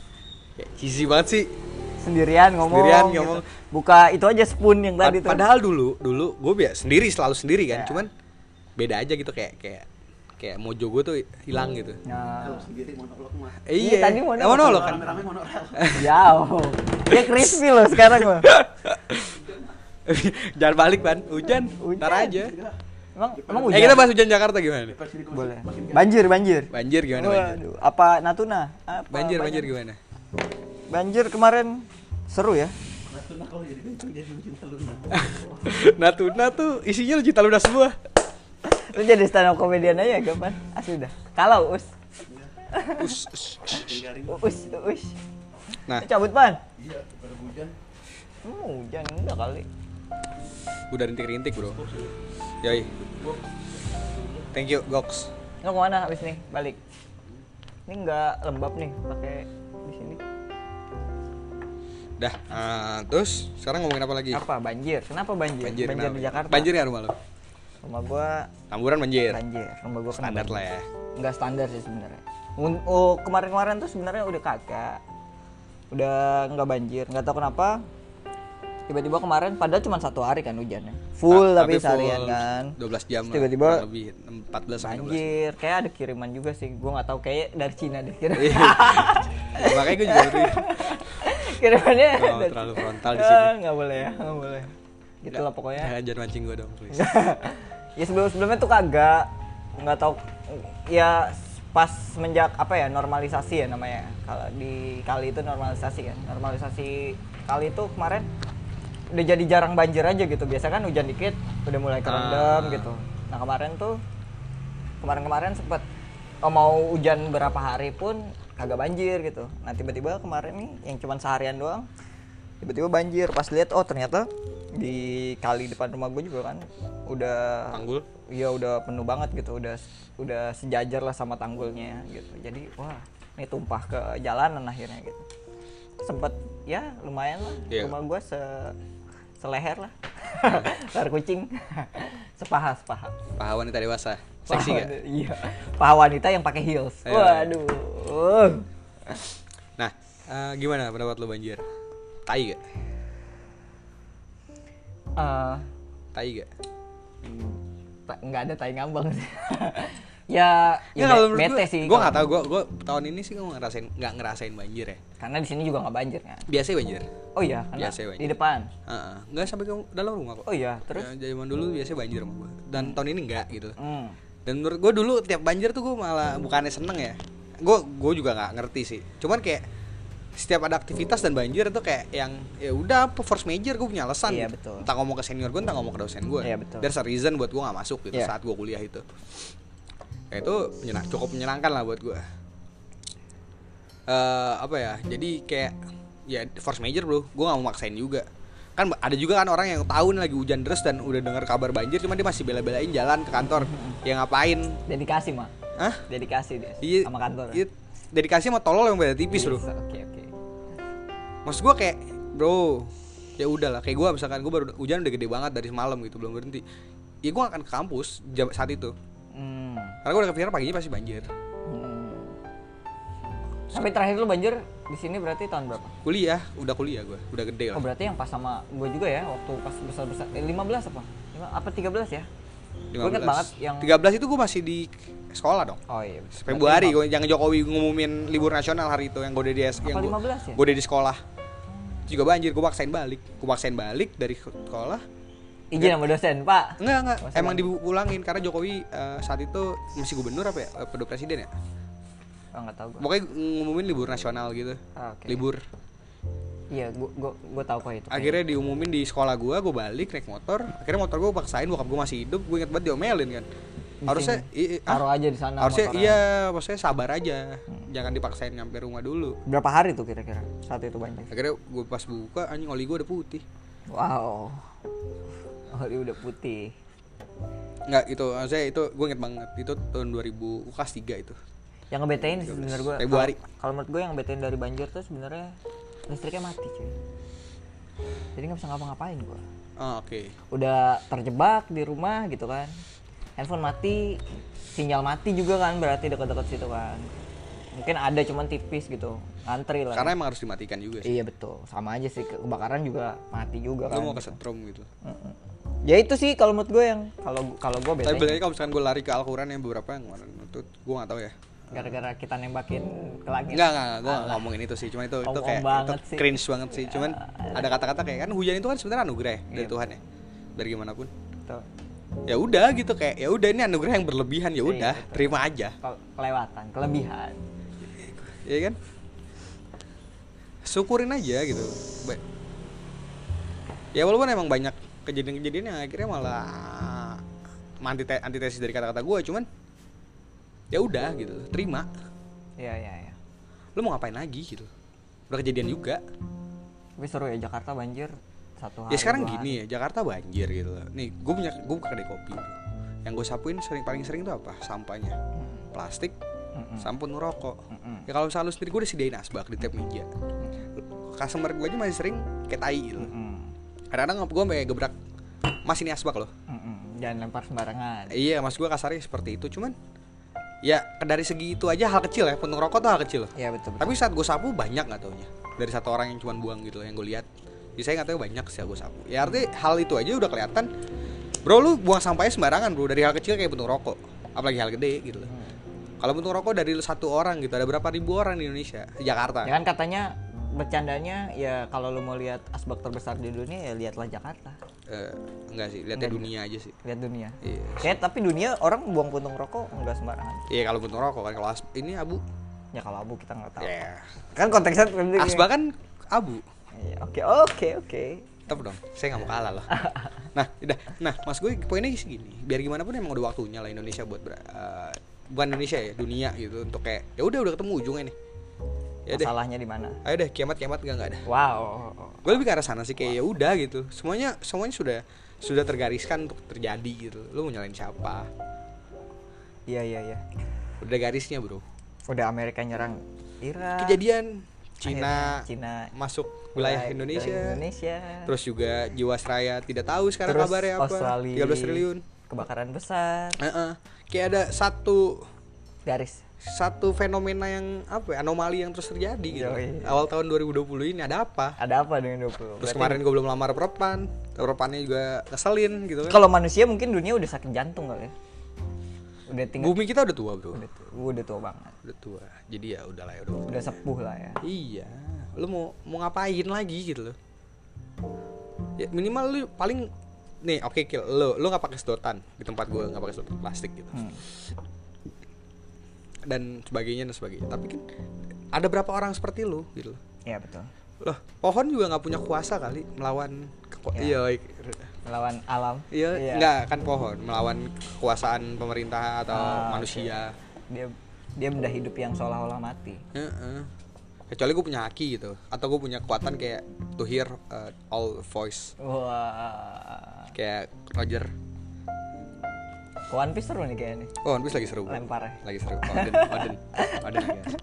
Speaker 1: kayak cheesy banget sih.
Speaker 2: Sendirian ngomong.
Speaker 1: Sendirian
Speaker 2: gitu.
Speaker 1: ngomong.
Speaker 2: Buka itu aja spoon yang
Speaker 1: Pad-
Speaker 2: tadi tuh.
Speaker 1: padahal dulu dulu gue biasa sendiri selalu sendiri kan,
Speaker 2: Iya.
Speaker 1: cuman beda aja gitu kayak kayak kayak mojo gue tuh hilang gitu.
Speaker 2: Nah,
Speaker 4: Kalau sendiri monolog mah.
Speaker 1: Eh,
Speaker 2: Iya,
Speaker 1: iya,
Speaker 2: tadi monolog.
Speaker 1: Eh, monolog kan.
Speaker 4: Rame-rame monolog.
Speaker 2: jauh. Dia crispy loh sekarang loh.
Speaker 1: *laughs* Jangan balik ban, hujan,
Speaker 2: Hujan.
Speaker 1: ntar aja.
Speaker 2: Emang emang
Speaker 1: Eh
Speaker 2: hujan.
Speaker 1: kita bahas hujan Jakarta gimana nih?
Speaker 4: Pas ini gua
Speaker 2: Boleh.
Speaker 4: makin gede.
Speaker 2: Banjir, banjir.
Speaker 1: Banjir gimana banjir?
Speaker 2: Waduh, apa Natuna? Apa
Speaker 1: Banjir banjir gimana? *laughs*
Speaker 2: Banjir kemarin seru ya.
Speaker 4: Natuna kalau jadi bencong jadi cinta Luna.
Speaker 1: Natuna tuh isinya lu cinta ludah
Speaker 2: *laughs*
Speaker 1: semua.
Speaker 2: Lu jadi stand up comedian aja gampang. Asli dah. Kalau us.
Speaker 1: Us, us, us.
Speaker 4: Makin garing.
Speaker 2: Us, us.
Speaker 1: Nah,
Speaker 2: Lu cabut, Pan.
Speaker 4: Iya, pada hujan.
Speaker 2: Hmm, hujan enggak kali.
Speaker 1: udah rintik-rintik, Bro. Yoi. Thank you, Gox.
Speaker 2: Lu kemana habis nih? Balik. Ini enggak lembab nih pakai di sini.
Speaker 1: Dah, ah, terus sekarang ngomongin apa lagi?
Speaker 2: Apa banjir? Kenapa banjir?
Speaker 1: Iya. Banjir, kenapa?
Speaker 2: di Jakarta.
Speaker 1: Banjir nggak rumah lu?
Speaker 2: Rumah gua
Speaker 1: Tamburan banjir.
Speaker 2: banjir. Rumah gua kena
Speaker 1: Standar
Speaker 2: banjir.
Speaker 1: lah ya.
Speaker 2: nggak standar sih sebenarnya. Un- Oh, kemarin-kemarin tuh sebenarnya udah kagak. Udah nggak banjir, nggak tahu kenapa. Tiba-tiba kemarin padahal cuma satu hari kan hujannya. Full
Speaker 1: Ta-
Speaker 2: tapi, seharian
Speaker 1: full
Speaker 2: kan.
Speaker 1: 12 jam lah,
Speaker 2: Tiba-tiba
Speaker 1: kurang lebih 14 sampai 12.
Speaker 2: Banjir, kayak ada kiriman juga sih. Gua nggak tahu kayak dari Cina
Speaker 1: *laughs*
Speaker 2: deh kira.
Speaker 1: Iya. Makanya gue juga beri.
Speaker 2: *laughs* Kirimannya
Speaker 1: Oh,
Speaker 2: dari-
Speaker 1: terlalu frontal di sini.
Speaker 2: Ah, Nggak boleh ya, nggak boleh. Gitu lah pokoknya.
Speaker 1: Jangan jangan mancing gue dong, please.
Speaker 2: ya sebelum sebelumnya tuh kagak nggak tahu ya pas semenjak apa ya normalisasi ya namanya kalau di kali itu normalisasi kan normalisasi kali itu kemarin udah jadi jarang banjir aja gitu biasa kan hujan dikit udah mulai kerendam
Speaker 1: Ah.
Speaker 2: gitu nah kemarin tuh kemarin-kemarin sempet oh, mau hujan berapa hari pun kagak banjir gitu nah tiba-tiba kemarin nih yang cuman seharian doang tiba-tiba banjir pas lihat oh ternyata di kali depan rumah gue juga kan udah
Speaker 1: Tanggul?
Speaker 2: iya udah penuh banget gitu udah udah sejajar lah sama tanggulnya gitu jadi wah ini tumpah ke jalanan akhirnya gitu sempet ya lumayan lah
Speaker 1: Iya.
Speaker 2: rumah gue se seleher lah *laughs* leher kucing *laughs* sepaha sepaha
Speaker 1: Paha wanita dewasa.
Speaker 2: Paha
Speaker 1: Seksi Iya. gak?
Speaker 2: wanita- Iya. Paha wanita yang pakai heels.
Speaker 1: Ayo.
Speaker 2: Waduh. Uh.
Speaker 1: Nah, eh, gimana pendapat lo banjir? Tai gak?
Speaker 2: Eh,
Speaker 1: Tai gak?
Speaker 2: ta- nggak ada tai ngambang *laughs* sih. ya, ya, be- bete sih.
Speaker 1: Gue
Speaker 2: kalau-
Speaker 1: gak tau, gue gua tahun ini sih gue ngerasain, gak ngerasain banjir ya
Speaker 2: Karena di sini juga nggak banjir kan.
Speaker 1: Biasanya banjir
Speaker 2: Oh iya, karena
Speaker 1: Biasa, Bang.
Speaker 2: di depan.
Speaker 1: Heeh. Nggak sampai ke dalam rumah kok
Speaker 2: Oh iya, terus
Speaker 1: Ya, zaman dulu biasanya banjir sama gue Dan tahun ini enggak gitu
Speaker 2: hmm.
Speaker 1: Dan menurut gue dulu tiap banjir tuh gue malah bukannya seneng ya Gue gue juga gak ngerti sih Cuman kayak setiap ada aktivitas dan banjir itu kayak yang ya udah apa, force major gue punya alasan
Speaker 2: Iya,
Speaker 1: gitu.
Speaker 2: betul.
Speaker 1: entah ngomong ke senior gue entah ngomong ke dosen gue
Speaker 2: Iya, betul.
Speaker 1: there's a reason buat gue nggak masuk gitu
Speaker 2: Iya.
Speaker 1: saat gue kuliah itu ya itu menyenang, cukup menyenangkan lah buat gue eh apa ya jadi kayak ya force major bro gue nggak mau maksain juga kan ba- ada juga kan orang yang tahun lagi hujan deras dan udah dengar kabar banjir cuman dia masih bela-belain jalan ke kantor ya ngapain
Speaker 2: dedikasi mah.
Speaker 1: Hah?
Speaker 2: Dedikasi dia
Speaker 1: Iya,
Speaker 2: sama kantor. ya?
Speaker 1: iya, dedikasi sama tolol yang beda tipis bro
Speaker 2: Oke, oke.
Speaker 1: maksud gue kayak bro ya udahlah kayak gue misalkan gue baru hujan udah gede banget dari semalam gitu belum berhenti ya gue akan ke kampus jam saat itu
Speaker 2: Hmm.
Speaker 1: karena gue udah kepikiran paginya pasti banjir
Speaker 2: Hmm. Tapi terakhir lu banjir di sini berarti tahun berapa?
Speaker 1: kuliah udah kuliah gue udah gede lah
Speaker 2: Oh berarti yang pas sama gue juga ya waktu pas besar besar eh, 15 apa? Lima- apa 13 ya? Gue inget banget yang
Speaker 1: 13 itu gue masih di sekolah dong
Speaker 2: oh iya betul.
Speaker 1: Februari
Speaker 2: Berarti
Speaker 1: gue yang Jokowi ngumumin libur nasional hari itu yang gue udah di S yang
Speaker 2: 15 ya?
Speaker 1: gue udah di sekolah Terus juga banjir gue paksain balik gue paksain balik dari sekolah
Speaker 2: lima- izin sama dosen pak
Speaker 1: Enggak, enggak.
Speaker 2: Masih
Speaker 1: Emang dipulangin karena Jokowi eh, saat itu masih gubernur apa ya? Eh, Pedo presiden ya?
Speaker 2: oh, nggak tahu gue
Speaker 1: Pokoknya ngumumin libur nasional gitu.
Speaker 2: Ah, oke.
Speaker 1: Libur.
Speaker 2: iya gue gue gue tahu kok itu
Speaker 1: Akhirnya diumumin di sekolah gua, gua balik naik motor. Akhirnya motor gua paksain bokap gua masih hidup, gua inget banget diomelin kan. Harusnya i- i- ah,
Speaker 2: taruh aja di sana
Speaker 1: harusnya
Speaker 2: motornya.
Speaker 1: iya, maksudnya sabar aja. Jangan dipaksain nyampe rumah dulu.
Speaker 2: berapa hari tuh kira-kira saat itu banjir
Speaker 1: Akhirnya gua pas buka anjing oli gua udah putih.
Speaker 2: wow oh dia udah putih
Speaker 1: Enggak itu, maksudnya itu gua inget banget. Itu tahun 2000 UKAS 3 itu.
Speaker 2: yang ngebetain sih bener gue
Speaker 1: Februari.
Speaker 2: kalau menurut gue yang ngebetain dari banjir tuh sebenarnya listriknya mati cuy jadi nggak bisa ngapa-ngapain gue
Speaker 1: Ah, Oke.
Speaker 2: udah terjebak di rumah gitu kan handphone mati sinyal mati juga kan berarti dekat-dekat situ kan mungkin ada cuman tipis gitu antri lah
Speaker 1: Karena emang harus dimatikan juga sih.
Speaker 2: iya betul sama aja sih ke- kebakaran juga mati
Speaker 1: Lu
Speaker 2: juga kan
Speaker 1: mau kesetrum gitu.
Speaker 2: ya itu sih kalau menurut gue yang kalau kalau gue
Speaker 1: Tapi
Speaker 2: bete
Speaker 1: benernya kalau misalkan gue lari ke Al-Quran yang beberapa yang kemarin itu gue gak tahu ya.
Speaker 2: gara-gara kita nembakin ke langit
Speaker 1: Enggak, enggak, gue gak ngomongin itu sih. Cuma itu itu
Speaker 2: Omong
Speaker 1: kayak itu
Speaker 2: banget sih. Iya.
Speaker 1: cringe banget sih. Cuman ada kata-kata kayak kan hujan itu kan sebenarnya anugerah ya dari Tuhan ya. Biar gimana pun.
Speaker 2: Tuh,
Speaker 1: Ya udah gitu kayak ya udah ini anugerah yang berlebihan ya udah,
Speaker 2: Iya, betul.
Speaker 1: terima aja.
Speaker 2: ke- kelewatan kelebihan
Speaker 1: Iya kan? Syukurin aja gitu. Ba- Ya walaupun emang banyak kejadian-kejadian yang akhirnya malah antite- antitesis dari kata-kata gue, cuman ya udah gitu, terima.
Speaker 2: iya iya iya
Speaker 1: Lu mau ngapain lagi gitu? Udah kejadian juga.
Speaker 2: tapi seru ya Jakarta banjir satu hari
Speaker 1: Ya sekarang
Speaker 2: dua hari.
Speaker 1: gini ya, Jakarta banjir gitu loh. Nih, gue punya gue buka kedai kopi. Yang gue sapuin sering paling sering tuh apa? Sampahnya. Plastik,
Speaker 2: Hmm.
Speaker 1: sampun rokok. Ya kalau misalnya lu sendiri gue udah sediain asbak di tiap meja. Customer gue aja masih sering kayak tai gitu. loh.
Speaker 2: Mm,
Speaker 1: Kadang-kadang gue sampai gebrak Mas ini asbak loh.
Speaker 2: mm, mm. jangan lempar sembarangan
Speaker 1: Iya, mas gue kasarnya seperti itu. Cuman ya dari segi itu aja hal kecil ya. Puntung rokok tuh hal kecil loh.
Speaker 2: iya betul betul
Speaker 1: Tapi saat gue sapu banyak nggak taunya dari satu orang yang cuman buang gitu loh yang gue lihat. Jadi saya nggak tahu banyak sih gue sapu. Ya artinya hal itu aja udah kelihatan. Bro lu buang sampahnya sembarangan bro dari hal kecil kayak bentuk rokok, apalagi hal gede gitu loh.
Speaker 2: Hmm.
Speaker 1: Kalau bentuk rokok dari satu orang gitu ada berapa ribu orang di Indonesia, di Jakarta.
Speaker 2: ya kan katanya bercandanya ya kalau lu mau lihat asbak terbesar di dunia ya lihatlah Jakarta
Speaker 1: Eh, enggak sih, lihatnya
Speaker 2: Enggak
Speaker 1: dunia aja sih.
Speaker 2: lihat dunia
Speaker 1: Iya.
Speaker 2: ya tapi dunia orang buang puntung rokok nggak sembarangan
Speaker 1: Iya kalau bentuk rokok kan kalau as- ini abu.
Speaker 2: ya kalau abu kita nggak tahu
Speaker 1: Ya.
Speaker 2: kan konteksnya seperti ini.
Speaker 1: Asbak kan abu.
Speaker 2: Iya, oke oke oke
Speaker 1: Tetep dong, saya nggak mau kalah loh. Nah, udah. Nah, mas gue poinnya segini. Biar gimana pun emang udah waktunya lah Indonesia buat ber- eh, bukan Indonesia ya, dunia gitu untuk kayak ya udah udah ketemu ujungnya nih. Ya deh.
Speaker 2: masalahnya di mana
Speaker 1: Ayo deh, kiamat kiamat nggak nggak ada.
Speaker 2: wow oh,
Speaker 1: Gue lebih ke arah sana sih kayak ya udah gitu. Semuanya semuanya sudah sudah tergariskan untuk terjadi gitu. Lu mau nyalain siapa?
Speaker 2: iya iya iya
Speaker 1: Udah garisnya, Bro.
Speaker 2: udah Amerika nyerang Irak
Speaker 1: Kejadian
Speaker 2: Akhirnya
Speaker 1: Cina,
Speaker 2: Cina
Speaker 1: masuk wilayah Indonesia.
Speaker 2: Indonesia
Speaker 1: Terus juga Jiwasraya tidak tahu sekarang
Speaker 2: Terus
Speaker 1: kabarnya apa.
Speaker 2: Australia
Speaker 1: 13 triliun.
Speaker 2: kebakaran besar
Speaker 1: Heeh. Kayak ada satu
Speaker 2: garis
Speaker 1: satu fenomena yang apa ya, anomali yang terus terjadi gitu.
Speaker 2: Yoi.
Speaker 1: Awal tahun 2020 ini ada apa?
Speaker 2: ada apa dengan 20
Speaker 1: Terus
Speaker 2: Berarti
Speaker 1: kemarin gue belum lamar perempuan, perempuannya juga ngeselin gitu kan.
Speaker 2: kalau manusia mungkin dunia udah sakit jantung kali ya udah tinggal
Speaker 1: Bumi kita udah tua bro,
Speaker 2: udah tua, udah tua banget
Speaker 1: udah tua. Jadi ya udahlah ya udah.
Speaker 2: udah sepuh lah ya
Speaker 1: Iya, lu mau mau ngapain lagi gitu loh? Ya minimal lu paling nih oke kill lu lu nggak pakai sedotan di tempat gue nggak pakai sedotan plastik gitu
Speaker 2: Hmm.
Speaker 1: dan sebagainya dan sebagainya tapi kan ada berapa orang seperti lu gitu loh
Speaker 2: ya betul
Speaker 1: loh pohon juga nggak punya kuasa kali melawan keku- iya iya
Speaker 2: melawan alam Iya.
Speaker 1: nggak kan pohon melawan kekuasaan pemerintah atau
Speaker 2: Ah,
Speaker 1: manusia
Speaker 2: dia dia benda hidup yang seolah-olah mati
Speaker 1: Heeh. kecuali gue punya haki gitu atau gue punya kekuatan kayak to hear uh, all voice
Speaker 2: wah
Speaker 1: kayak Roger
Speaker 2: One Piece seru nih kayaknya nih.
Speaker 1: Oh, One Piece lagi seru.
Speaker 2: Lempar ya.
Speaker 1: Lagi seru. Oh, Odin, Odin, Odin. I guess.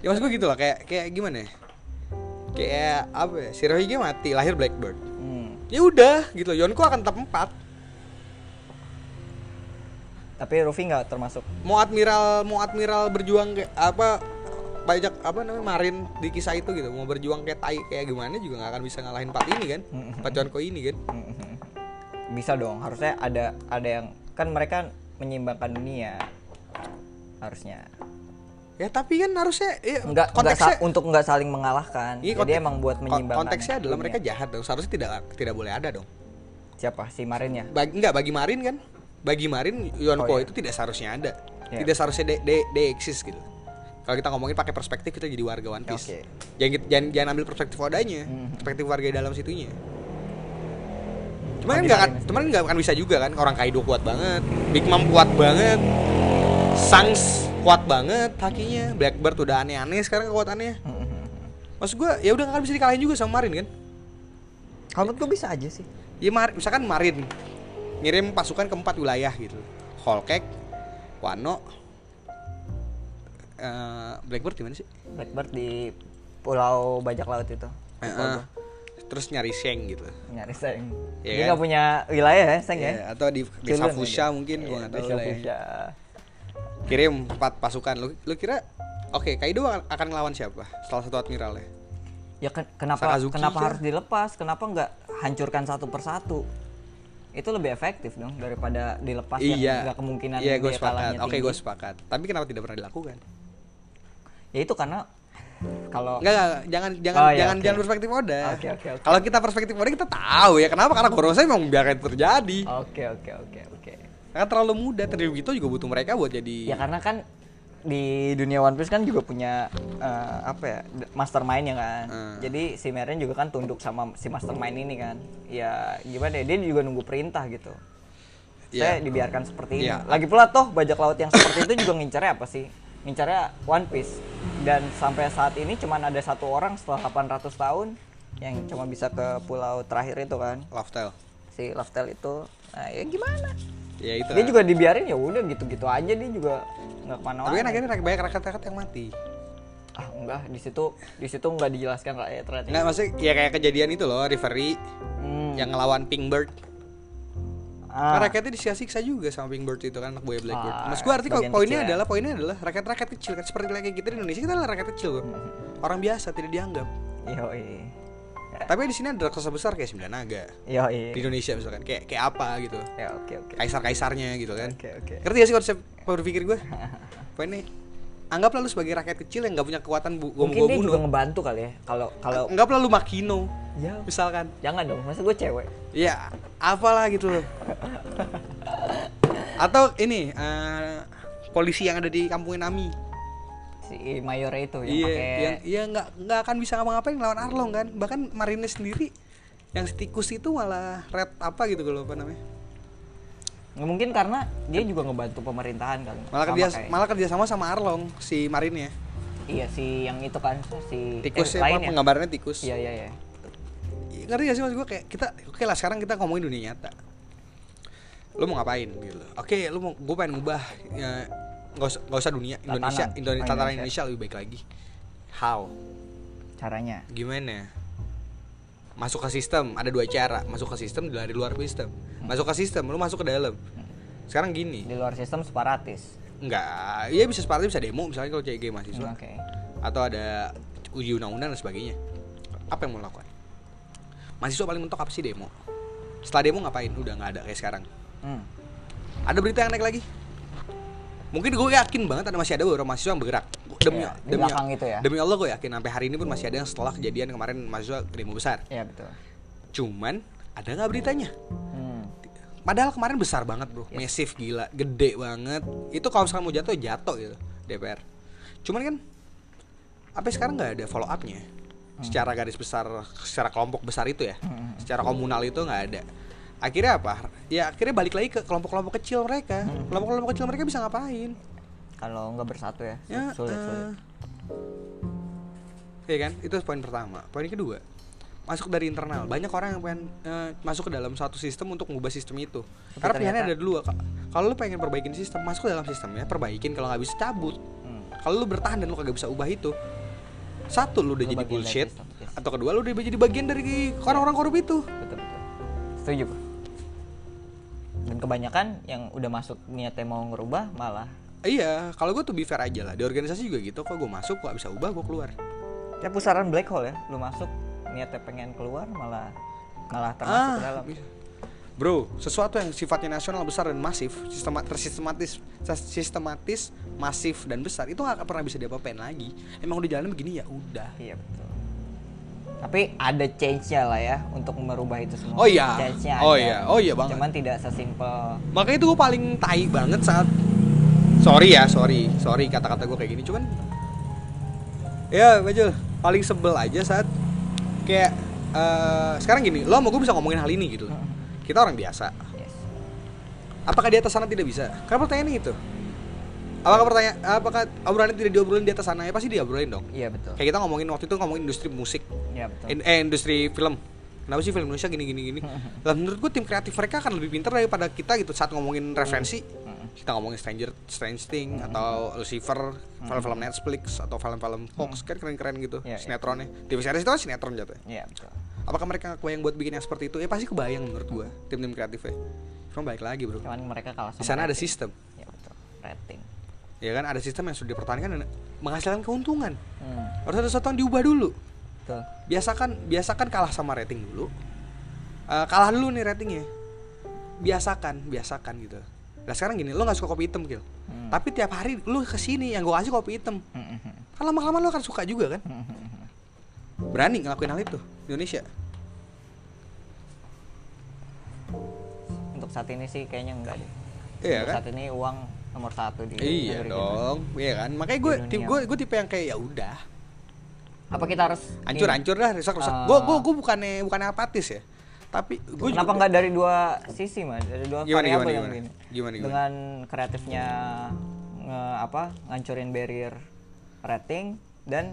Speaker 1: Ya maksud gue gitu lah, kayak kayak gimana ya? Kayak apa ya? Shirohige mati, lahir Blackbird.
Speaker 2: hmm.
Speaker 1: Ya udah gitu, Yonko akan tetap empat.
Speaker 2: tapi Ruffy nggak termasuk
Speaker 1: Mau admiral, mau admiral berjuang kayak apa banyak apa namanya Marin di kisah itu gitu mau berjuang kayak tai kayak gimana juga nggak akan bisa ngalahin empat ini kan empat Yonko ini kan
Speaker 2: bisa dong harusnya ada ada yang kan mereka menyimbangkan dunia harusnya
Speaker 1: ya tapi kan harusnya ya,
Speaker 2: nggak nggak
Speaker 1: konteksnya
Speaker 2: sa- untuk nggak saling mengalahkan
Speaker 1: Iya,
Speaker 2: jadi
Speaker 1: konteks-
Speaker 2: emang buat menyimbangkan
Speaker 1: konteksnya adalah
Speaker 2: dunia.
Speaker 1: mereka jahat dong seharusnya tidak tidak boleh ada dong
Speaker 2: siapa si Marinnya
Speaker 1: bagi enggak bagi Marin kan bagi Marin Yonko
Speaker 2: Iya. Oh, iya.
Speaker 1: itu tidak seharusnya ada
Speaker 2: Iya.
Speaker 1: tidak seharusnya de, de, de exist gitu kalau kita ngomongin pakai perspektif kita jadi warga One Piece
Speaker 2: Oke. Hmm.
Speaker 1: jangan, kita- jangan jangan ambil perspektif odanya perspektif warga di dalam situnya cuman kan
Speaker 2: Bagi
Speaker 1: nggak akan-
Speaker 2: Marin.
Speaker 1: cuman nggak akan bisa juga kan orang Kaido kuat banget Big Mom kuat banget Sans kuat banget hakinya Blackbird udah aneh-aneh sekarang kekuatannya
Speaker 2: Hmm.
Speaker 1: maksud gua ya udah nggak akan bisa dikalahin juga sama Marin kan
Speaker 2: kalau menurut gue bisa aja sih
Speaker 1: Ya mar- misalkan Marin ngirim pasukan ke empat wilayah gitu. Holkek, Wano, eh, Blackbird di mana sih?
Speaker 2: Blackbird di pulau bajak laut itu.
Speaker 1: Eh,
Speaker 2: Lupa
Speaker 1: eh.
Speaker 2: gua.
Speaker 1: terus nyari Sheng gitu.
Speaker 2: Nyari seng.
Speaker 1: Iya
Speaker 2: Dia
Speaker 1: kan?
Speaker 2: nggak punya wilayah ya seng
Speaker 1: Iya,
Speaker 2: ya?
Speaker 1: atau di desa
Speaker 2: Children
Speaker 1: Fusha
Speaker 2: ya?
Speaker 1: mungkin
Speaker 2: Iya,
Speaker 1: gua nggak tahu
Speaker 2: desa
Speaker 1: lah ya.
Speaker 2: Fusha.
Speaker 1: Kirim empat pasukan. Lu, lu kira Oke, Kaido akan akan ngelawan siapa? Salah satu admiralnya.
Speaker 2: Ya ken- kenapa
Speaker 1: Sakazuki
Speaker 2: kenapa
Speaker 1: kah?
Speaker 2: harus dilepas? Kenapa nggak hancurkan satu persatu? Itu lebih efektif dong daripada dilepas yang nggak kemungkinan
Speaker 1: Iya, gue
Speaker 2: dia
Speaker 1: sepakat.
Speaker 2: kalahnya
Speaker 1: Oke,
Speaker 2: tinggi.
Speaker 1: gue sepakat. Tapi kenapa tidak pernah dilakukan?
Speaker 2: Ya itu karena kalau
Speaker 1: Enggak, enggak, jangan jangan
Speaker 2: Oh, iya,
Speaker 1: jangan
Speaker 2: oke.
Speaker 1: jangan perspektif Oda.
Speaker 2: Oke, oke, oke.
Speaker 1: Kalau kita perspektif Oda kita tahu ya kenapa karena Gorosei memang biarkan itu terjadi.
Speaker 2: Oke oke oke oke.
Speaker 1: Karena terlalu muda, terlalu gitu juga butuh mereka buat
Speaker 2: Ya
Speaker 1: jadi
Speaker 2: karena kan di dunia One Piece kan juga punya eh, apa ya d- mastermind ya kan.
Speaker 1: Hmm.
Speaker 2: Jadi si Meren juga kan tunduk sama si mastermind ini kan. Ya gimana ya dia juga nunggu perintah gitu. Saya
Speaker 1: Iya.
Speaker 2: dibiarkan seperti
Speaker 1: Iya.
Speaker 2: ini. Lagi pula toh bajak laut yang seperti itu juga ngincarnya apa sih? Ngincarnya One Piece. Dan sampai saat ini cuman ada satu orang setelah 800 tahun yang cuma bisa ke pulau terakhir itu kan
Speaker 1: love tale.
Speaker 2: si Loftel itu. Nah ya gimana?
Speaker 1: Ya itu.
Speaker 2: dia juga dibiarin ya udah gitu-gitu aja dia juga nggak kemana
Speaker 1: Tapi kan akhirnya banyak rakyat-rakyat yang mati.
Speaker 2: ah enggak di situ di situ nggak dijelaskan rakyat ternyata
Speaker 1: Enggak maksudnya ya kayak kejadian itu loh, Reverie
Speaker 2: Hmm.
Speaker 1: yang ngelawan Pinkbird.
Speaker 2: Ah,
Speaker 1: Kan rakyatnya disiksa-siksa juga sama Pinkbird itu kan anak buaya Blackbird.
Speaker 2: Ah,
Speaker 1: Mas gue arti kok
Speaker 2: bagian
Speaker 1: poinnya
Speaker 2: kecil ya.
Speaker 1: adalah poinnya adalah rakyat-rakyat kecil kan seperti kayak kita di Indonesia kita adalah rakyat kecil kok.
Speaker 2: Hmm.
Speaker 1: Orang biasa tidak dianggap.
Speaker 2: yoi
Speaker 1: Tapi di sini ada raksasa besar kayak sembilan naga.
Speaker 2: Ya, yoi
Speaker 1: Di Indonesia misalkan kayak kayak apa gitu.
Speaker 2: ya oke oke
Speaker 1: Kaisar-kaisarnya gitu kan.
Speaker 2: oke oke
Speaker 1: Ngerti gak sih konsep berpikir gue? Poinnya anggaplah lu sebagai rakyat kecil yang nggak punya kekuatan bu gua
Speaker 2: mungkin
Speaker 1: gua
Speaker 2: dia juga
Speaker 1: bunuh.
Speaker 2: ngebantu kali ya kalau kalau
Speaker 1: Anggaplah lu Makino
Speaker 2: ya
Speaker 1: misalkan.
Speaker 2: jangan dong masa gue cewek
Speaker 1: Ya, apalah gitu loh. Atau ini eh, polisi yang ada di kampung Nami.
Speaker 2: si mayor itu Oh, yang
Speaker 1: Iya,
Speaker 2: pakai
Speaker 1: yang iya nggak nggak akan bisa ngapa-ngapain lawan Arlong kan. Bahkan Marine sendiri yang si tikus itu malah red apa gitu gue lupa namanya.
Speaker 2: Nggak Ya, mungkin karena dia juga ngebantu pemerintahan kali
Speaker 1: Malah
Speaker 2: Sama
Speaker 1: kerja
Speaker 2: kayak-
Speaker 1: malah kerja sama sama Arlong si Marine ya.
Speaker 2: iya si yang itu kan si
Speaker 1: Tikus
Speaker 2: eh,
Speaker 1: ya,
Speaker 2: lain ya
Speaker 1: penggambarannya tikus.
Speaker 2: iya iya iya
Speaker 1: ngerti gak sih mas gue kayak kita oke lah sekarang kita ngomongin dunia nyata lu mau ngapain gitu loh. oke lu mau gue pengen ngubah ya, nggak usah nggak usah dunia Indonesia
Speaker 2: Tatanan.
Speaker 1: Indonesia
Speaker 2: Oh,
Speaker 1: tatanan
Speaker 2: Indonesia.
Speaker 1: Indonesia lebih baik lagi how
Speaker 2: caranya
Speaker 1: gimana masuk ke sistem ada dua cara masuk ke sistem dari luar sistem masuk ke sistem lu masuk ke dalam sekarang gini
Speaker 2: di luar sistem separatis
Speaker 1: nggak ya bisa seperti bisa demo misalnya kalau CG
Speaker 2: Hmm,
Speaker 1: mahasiswa
Speaker 2: oke
Speaker 1: atau ada uji undang-undang dan sebagainya apa yang mau lakukan mahasiswa paling mentok apa sih demo setelah demo ngapain udah nggak ada kayak sekarang
Speaker 2: Hmm.
Speaker 1: ada berita yang naik lagi mungkin gue yakin banget ada masih ada beberapa mahasiswa yang bergerak Gua- demi
Speaker 2: Iya, di
Speaker 1: demi
Speaker 2: belakang gitu ya.
Speaker 1: demi Allah gue yakin sampai hari ini pun masih ada yang setelah kejadian kemarin mahasiswa demo besar
Speaker 2: Iya betul.
Speaker 1: cuman ada nggak beritanya
Speaker 2: Hmm.
Speaker 1: Padahal kemarin besar banget bro,
Speaker 2: Yes.
Speaker 1: massive gila, gede banget. Itu kalau misalnya mau jatuh jatuh gitu DPR. Cuman kan, apa sekarang nggak ada follow upnya? Secara garis besar, secara kelompok besar itu ya, secara komunal itu nggak ada. Akhirnya apa? Ya akhirnya balik lagi ke kelompok-kelompok kecil mereka. Kelompok-kelompok kecil mereka bisa ngapain?
Speaker 2: Kalau nggak bersatu ya, su-
Speaker 1: Ya,
Speaker 2: sulit
Speaker 1: eh,
Speaker 2: sulit.
Speaker 1: Iya kan? Itu poin pertama. Poin kedua, masuk dari internal. Banyak orang yang pengen eh, masuk ke dalam satu sistem untuk mengubah sistem itu.
Speaker 2: Tapi
Speaker 1: Karena pilihannya ada
Speaker 2: ternyata-
Speaker 1: dua. Kak. Kalau lu pengen perbaikin sistem, masuk ke dalam sistemnya, perbaikin kalau nggak bisa cabut.
Speaker 2: Hmm.
Speaker 1: Kalau lu bertahan dan lu kagak bisa ubah itu, satu lu udah jadi
Speaker 2: Lu bagian dari
Speaker 1: bullshit,
Speaker 2: sistem, yes.
Speaker 1: atau kedua lu udah jadi bagian dari orang-orang korup itu.
Speaker 2: Betul betul. Setuju. Pak. Dan kebanyakan yang udah masuk niatnya mau ngerubah malah
Speaker 1: Iya, kalau gue tuh be fair aja lah. Di organisasi juga gitu, kok gue masuk, gue bisa ubah, gue keluar.
Speaker 2: ya pusaran black hole ya. Lu masuk niatnya pengen keluar malah malah termasuk ke dalam.
Speaker 1: Ah, bisa. Bro, sesuatu yang sifatnya nasional besar dan masif, sistema tersistematis, sistematis, masif dan besar itu nggak akan pernah bisa diapa-apain lagi. Emang udah jalan begini ya udah.
Speaker 2: Iya betul. Tapi ada change-nya lah ya untuk merubah itu semua.
Speaker 1: Oh iya.
Speaker 2: Change-nya
Speaker 1: Oh
Speaker 2: ada.
Speaker 1: iya. Oh iya banget.
Speaker 2: Cuman tidak sesimpel
Speaker 1: Makanya itu gue paling tai banget saat sorry ya, sorry, sorry kata-kata gue kayak gini, cuman ya Bajul paling sebel aja saat kayak eh, sekarang gini, lo mau gue bisa ngomongin hal ini gitu. loh. Kita orang biasa,
Speaker 2: yes.
Speaker 1: apakah di atas sana tidak bisa? Karena pertanyaannya itu. Apakah pertanyaan apakah obrolan tidak diobrolin di atas sana? Ya pasti diobrolin dong.
Speaker 2: Iya betul.
Speaker 1: Kayak kita ngomongin waktu itu ngomongin industri musik,
Speaker 2: Iya betul.
Speaker 1: in- eh industri film. kenapa sih film Indonesia gini gini gini lah menurut gue tim kreatif mereka akan lebih pintar daripada kita gitu saat ngomongin referensi
Speaker 2: Hmm.
Speaker 1: kita ngomongin Stranger Strange Thing atau Lucifer film-film Netflix atau film-film Fox kan keren-keren gitu
Speaker 2: Iya, iya.
Speaker 1: sinetronnya TV series itu kan sinetron jatuhnya
Speaker 2: Iya betul.
Speaker 1: apakah mereka kebayang buat bikin yang seperti itu ya pasti kebayang menurut gue tim-tim kreatifnya cuma balik lagi bro
Speaker 2: Cuman mereka kalah
Speaker 1: di
Speaker 2: sama
Speaker 1: sana ada
Speaker 2: rating.
Speaker 1: sistem
Speaker 2: Ya betul. Rating.
Speaker 1: ya kan ada sistem yang sudah dipertahankan dan menghasilkan keuntungan
Speaker 2: Hmm,
Speaker 1: harus ada sesuatu yang diubah dulu
Speaker 2: betul.
Speaker 1: biasakan biasakan kalah sama rating dulu Eh, kalah dulu nih ratingnya biasakan biasakan gitu nah sekarang gini lo nggak suka kopi hitam Gil
Speaker 2: Hmm.
Speaker 1: tapi tiap hari lo kesini yang gue kasih kopi hitam
Speaker 2: Hmm, hmm,
Speaker 1: kan lama-lama lo akan suka juga kan
Speaker 2: hmm, hmm, hmm.
Speaker 1: berani ngelakuin hal itu di Indonesia
Speaker 2: *laughs* Untuk saat ini sih kayaknya enggak deh.
Speaker 1: iya
Speaker 2: Untuk
Speaker 1: kan
Speaker 2: saat ini uang nomor satu di
Speaker 1: iya
Speaker 2: negeri kita.
Speaker 1: dong iya kan makanya gue
Speaker 2: Di
Speaker 1: tipe
Speaker 2: dunia.
Speaker 1: gue gue tipe yang kayak ya udah
Speaker 2: Apa kita harus
Speaker 1: hancur hancur dah rusak rusak
Speaker 2: Eh.
Speaker 1: gue gue gue bukannya bukannya apatis ya tapi gue
Speaker 2: Kenapa nggak dari dua sisi mas? Dari dua
Speaker 1: Gimana, gimana,
Speaker 2: variabel yang
Speaker 1: gimana?
Speaker 2: begini.
Speaker 1: Gimana, gimana?
Speaker 2: Dengan kreatifnya nge, apa ngancurin barrier rating dan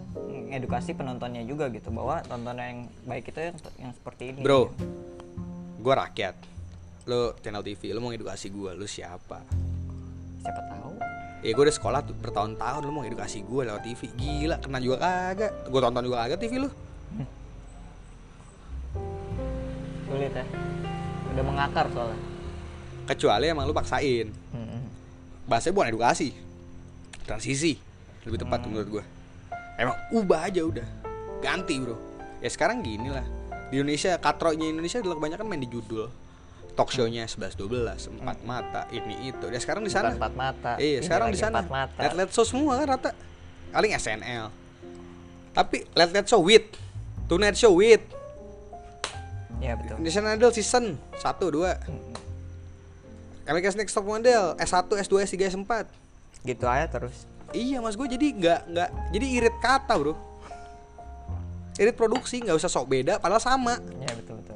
Speaker 2: edukasi penontonnya juga gitu bahwa tontonan yang baik itu yang, yang seperti ini.
Speaker 1: Bro, gue rakyat. Lo channel TV, lo mau edukasi gue, lo siapa?
Speaker 2: Siapa tahu.
Speaker 1: Ya gue udah sekolah tuh bertahun-tahun, lo mau edukasi gue lewat TV. Gila, kena juga kagak. Gue tonton juga kagak TV lo.
Speaker 2: Sulit ya. Udah mengakar soalnya.
Speaker 1: Kecuali emang lo paksain.
Speaker 2: Hmm.
Speaker 1: Bahasanya bukan edukasi. Transisi. Lebih tepat
Speaker 2: Hmm.
Speaker 1: menurut gue. Emang ubah aja udah. Ganti bro. Ya sekarang gini lah. Di Indonesia, katronya Indonesia adalah kebanyakan main di judul. Talk show-nya 11-12, 4 mata, ini itu. Ya sekarang di sana.
Speaker 2: Hmm. Bukan empat mata.
Speaker 1: Iya,
Speaker 2: Ini
Speaker 1: sekarang
Speaker 2: lagi
Speaker 1: di sana.
Speaker 2: Empat mata.
Speaker 1: Let let show semua kan rata. Paling SNL. Tapi let let show with Tonight show with
Speaker 2: Iya betul.
Speaker 1: Indonesian Idol season 1 2. America's Next Top Model S1, S2, S3, S4.
Speaker 2: Gitu aja terus.
Speaker 1: Iya mas gue jadi nggak nggak jadi irit kata bro. Irit produksi nggak usah sok beda padahal sama.
Speaker 2: Iya betul betul.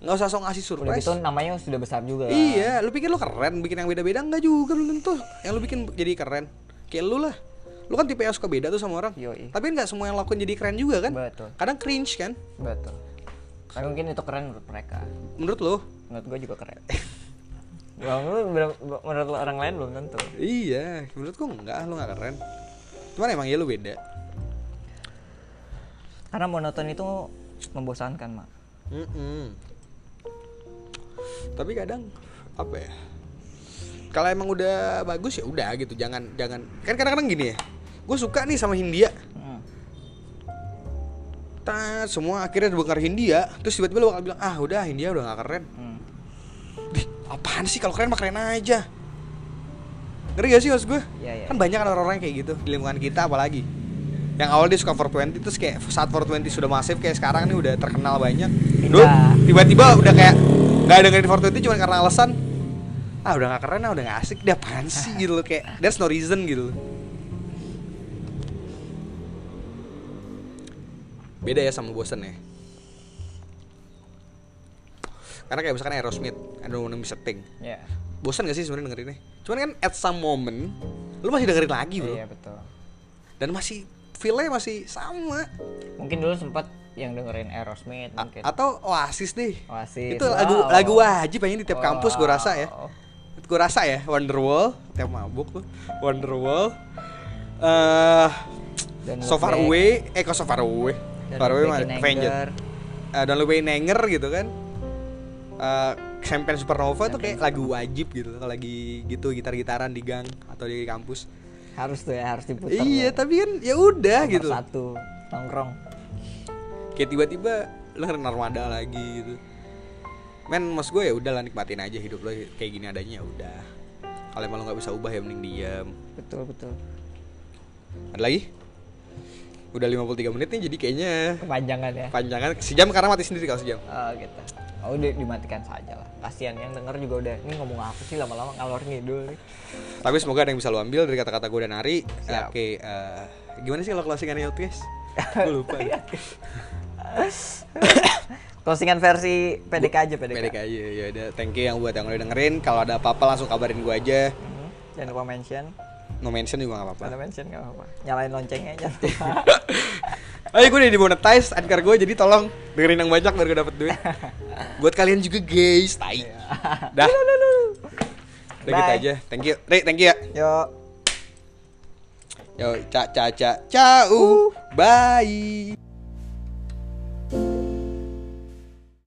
Speaker 1: Nggak usah sok ngasih
Speaker 2: Udah
Speaker 1: surprise.
Speaker 2: gitu namanya sudah besar juga. lah.
Speaker 1: Iya, lu pikir lu keren bikin yang beda-beda enggak juga belum tentu. Yang lu bikin jadi keren. Kayak lu lah. Lu kan tipe yang suka beda tuh sama orang.
Speaker 2: Yoi.
Speaker 1: Tapi nggak semua yang lakuin jadi keren juga kan?
Speaker 2: Betul.
Speaker 1: Kadang cringe kan?
Speaker 2: Betul. Tapi mungkin itu keren menurut mereka.
Speaker 1: Menurut lu?
Speaker 2: Menurut gue juga
Speaker 1: *laughs*
Speaker 2: keren. Bang, lu ber- menurut lu orang lain belum tentu.
Speaker 1: Iya, menurut gua enggak, lu enggak keren. Cuman emang ya lu beda.
Speaker 2: Karena monoton itu membosankan, Mak.
Speaker 1: Mm-mm. Tapi kadang apa ya? Kalau emang udah bagus ya udah gitu, jangan jangan. Kan kadang-kadang gini ya. Gue suka nih sama Hindia.
Speaker 2: Hmm.
Speaker 1: Tat, semua akhirnya dengar Hindia, terus tiba-tiba lu bakal bilang, "Ah, udah Hindia udah gak keren."
Speaker 2: Hmm.
Speaker 1: Dih, apaan sih kalau keren mah keren aja. Ngeri gak sih maksud gue?
Speaker 2: Iya, iya.
Speaker 1: Kan banyak kan orang-orang yang kayak gitu di lingkungan kita apalagi. Yang awal dia suka 420 terus kayak saat 420 sudah masif kayak sekarang ini udah terkenal banyak. Dulu tiba-tiba udah kayak nggak dengerin 420 cuma karena alasan ah udah gak keren ah udah gak asik dia apaan sih gitu loh kayak there's no reason gitu loh. Beda ya sama bosen ya. Karena kayak misalkan Aerosmith, I don't wanna miss a thing
Speaker 2: Ya.
Speaker 1: bosan gak sih sebenarnya dengerinnya? Cuman kan at some moment lu masih dengerin lagi bro,
Speaker 2: Iya, betul.
Speaker 1: dan masih feelnya masih sama.
Speaker 2: Mungkin dulu sempat yang dengerin Aerosmith
Speaker 1: A-
Speaker 2: mungkin.
Speaker 1: atau Oasis deh.
Speaker 2: Oasis,
Speaker 1: Itu lagu
Speaker 2: wow.
Speaker 1: lagu wajib aja di tiap kampus gue rasa ya.
Speaker 2: Wow.
Speaker 1: Gue rasa ya Wonderwall, tiap mabuk tuh Wonderwall. Eh
Speaker 2: Dan
Speaker 1: so far
Speaker 2: Look Back.
Speaker 1: away, eh kok so far away?
Speaker 2: Dan
Speaker 1: far away
Speaker 2: Look Back
Speaker 1: mah
Speaker 2: in Anger.
Speaker 1: Avenged. Eh Don't Look Back in Anger gitu kan. Eh Champagne Supernova tuh kayak lagu wajib gitu kalau lagi gitu gitar-gitaran di gang atau di kampus.
Speaker 2: Harus tuh ya, harus diputar.
Speaker 1: Iya,
Speaker 2: tuh.
Speaker 1: tapi kan ya udah
Speaker 2: Nomor
Speaker 1: gitu.
Speaker 2: Satu nongkrong.
Speaker 1: Kayak tiba-tiba lo kena armada lagi gitu. Men, mas gue ya udah lah nikmatin aja hidup lo kayak gini adanya ya udah. Kalau emang lo nggak bisa ubah ya mending diam.
Speaker 2: Betul, betul.
Speaker 1: Ada lagi? Udah 53 menit nih jadi kayaknya
Speaker 2: Kepanjangan ya.
Speaker 1: panjangan sejam karena mati sendiri kalau sejam.
Speaker 2: Oh gitu. Oh udah dimatikan saja lah. Kasihan yang denger juga udah ini ngomong apa sih lama-lama ngalor ngidul nih. *laughs*
Speaker 1: Tapi semoga ada yang bisa lo ambil dari kata-kata gue dan Ari.
Speaker 2: Siap.
Speaker 1: Oke, eh, gimana sih kalau closingannya out *laughs* guys? Gue lupa.
Speaker 2: Closingan versi PDK aja PDK.
Speaker 1: Pendek aja ya udah. Thank you yang buat yang udah dengerin. Kalau ada apa-apa langsung kabarin gue aja.
Speaker 2: Mhm. Jangan Hmm, lupa mention.
Speaker 1: no mention juga nggak apa-apa
Speaker 2: Mana mention nggak apa-apa. Nyalain loncengnya
Speaker 1: *laughs*
Speaker 2: aja.
Speaker 1: Ayo gue Oh, iya, udah dimonetize anchor gue jadi tolong dengerin yang banyak biar gue dapet duit Buat kalian juga guys, tai *laughs* Dah Udah gitu
Speaker 2: Bye.
Speaker 1: aja, thank you Rik, thank you ya
Speaker 2: Yuk.
Speaker 1: Yo, ca ca ca, ciao, bye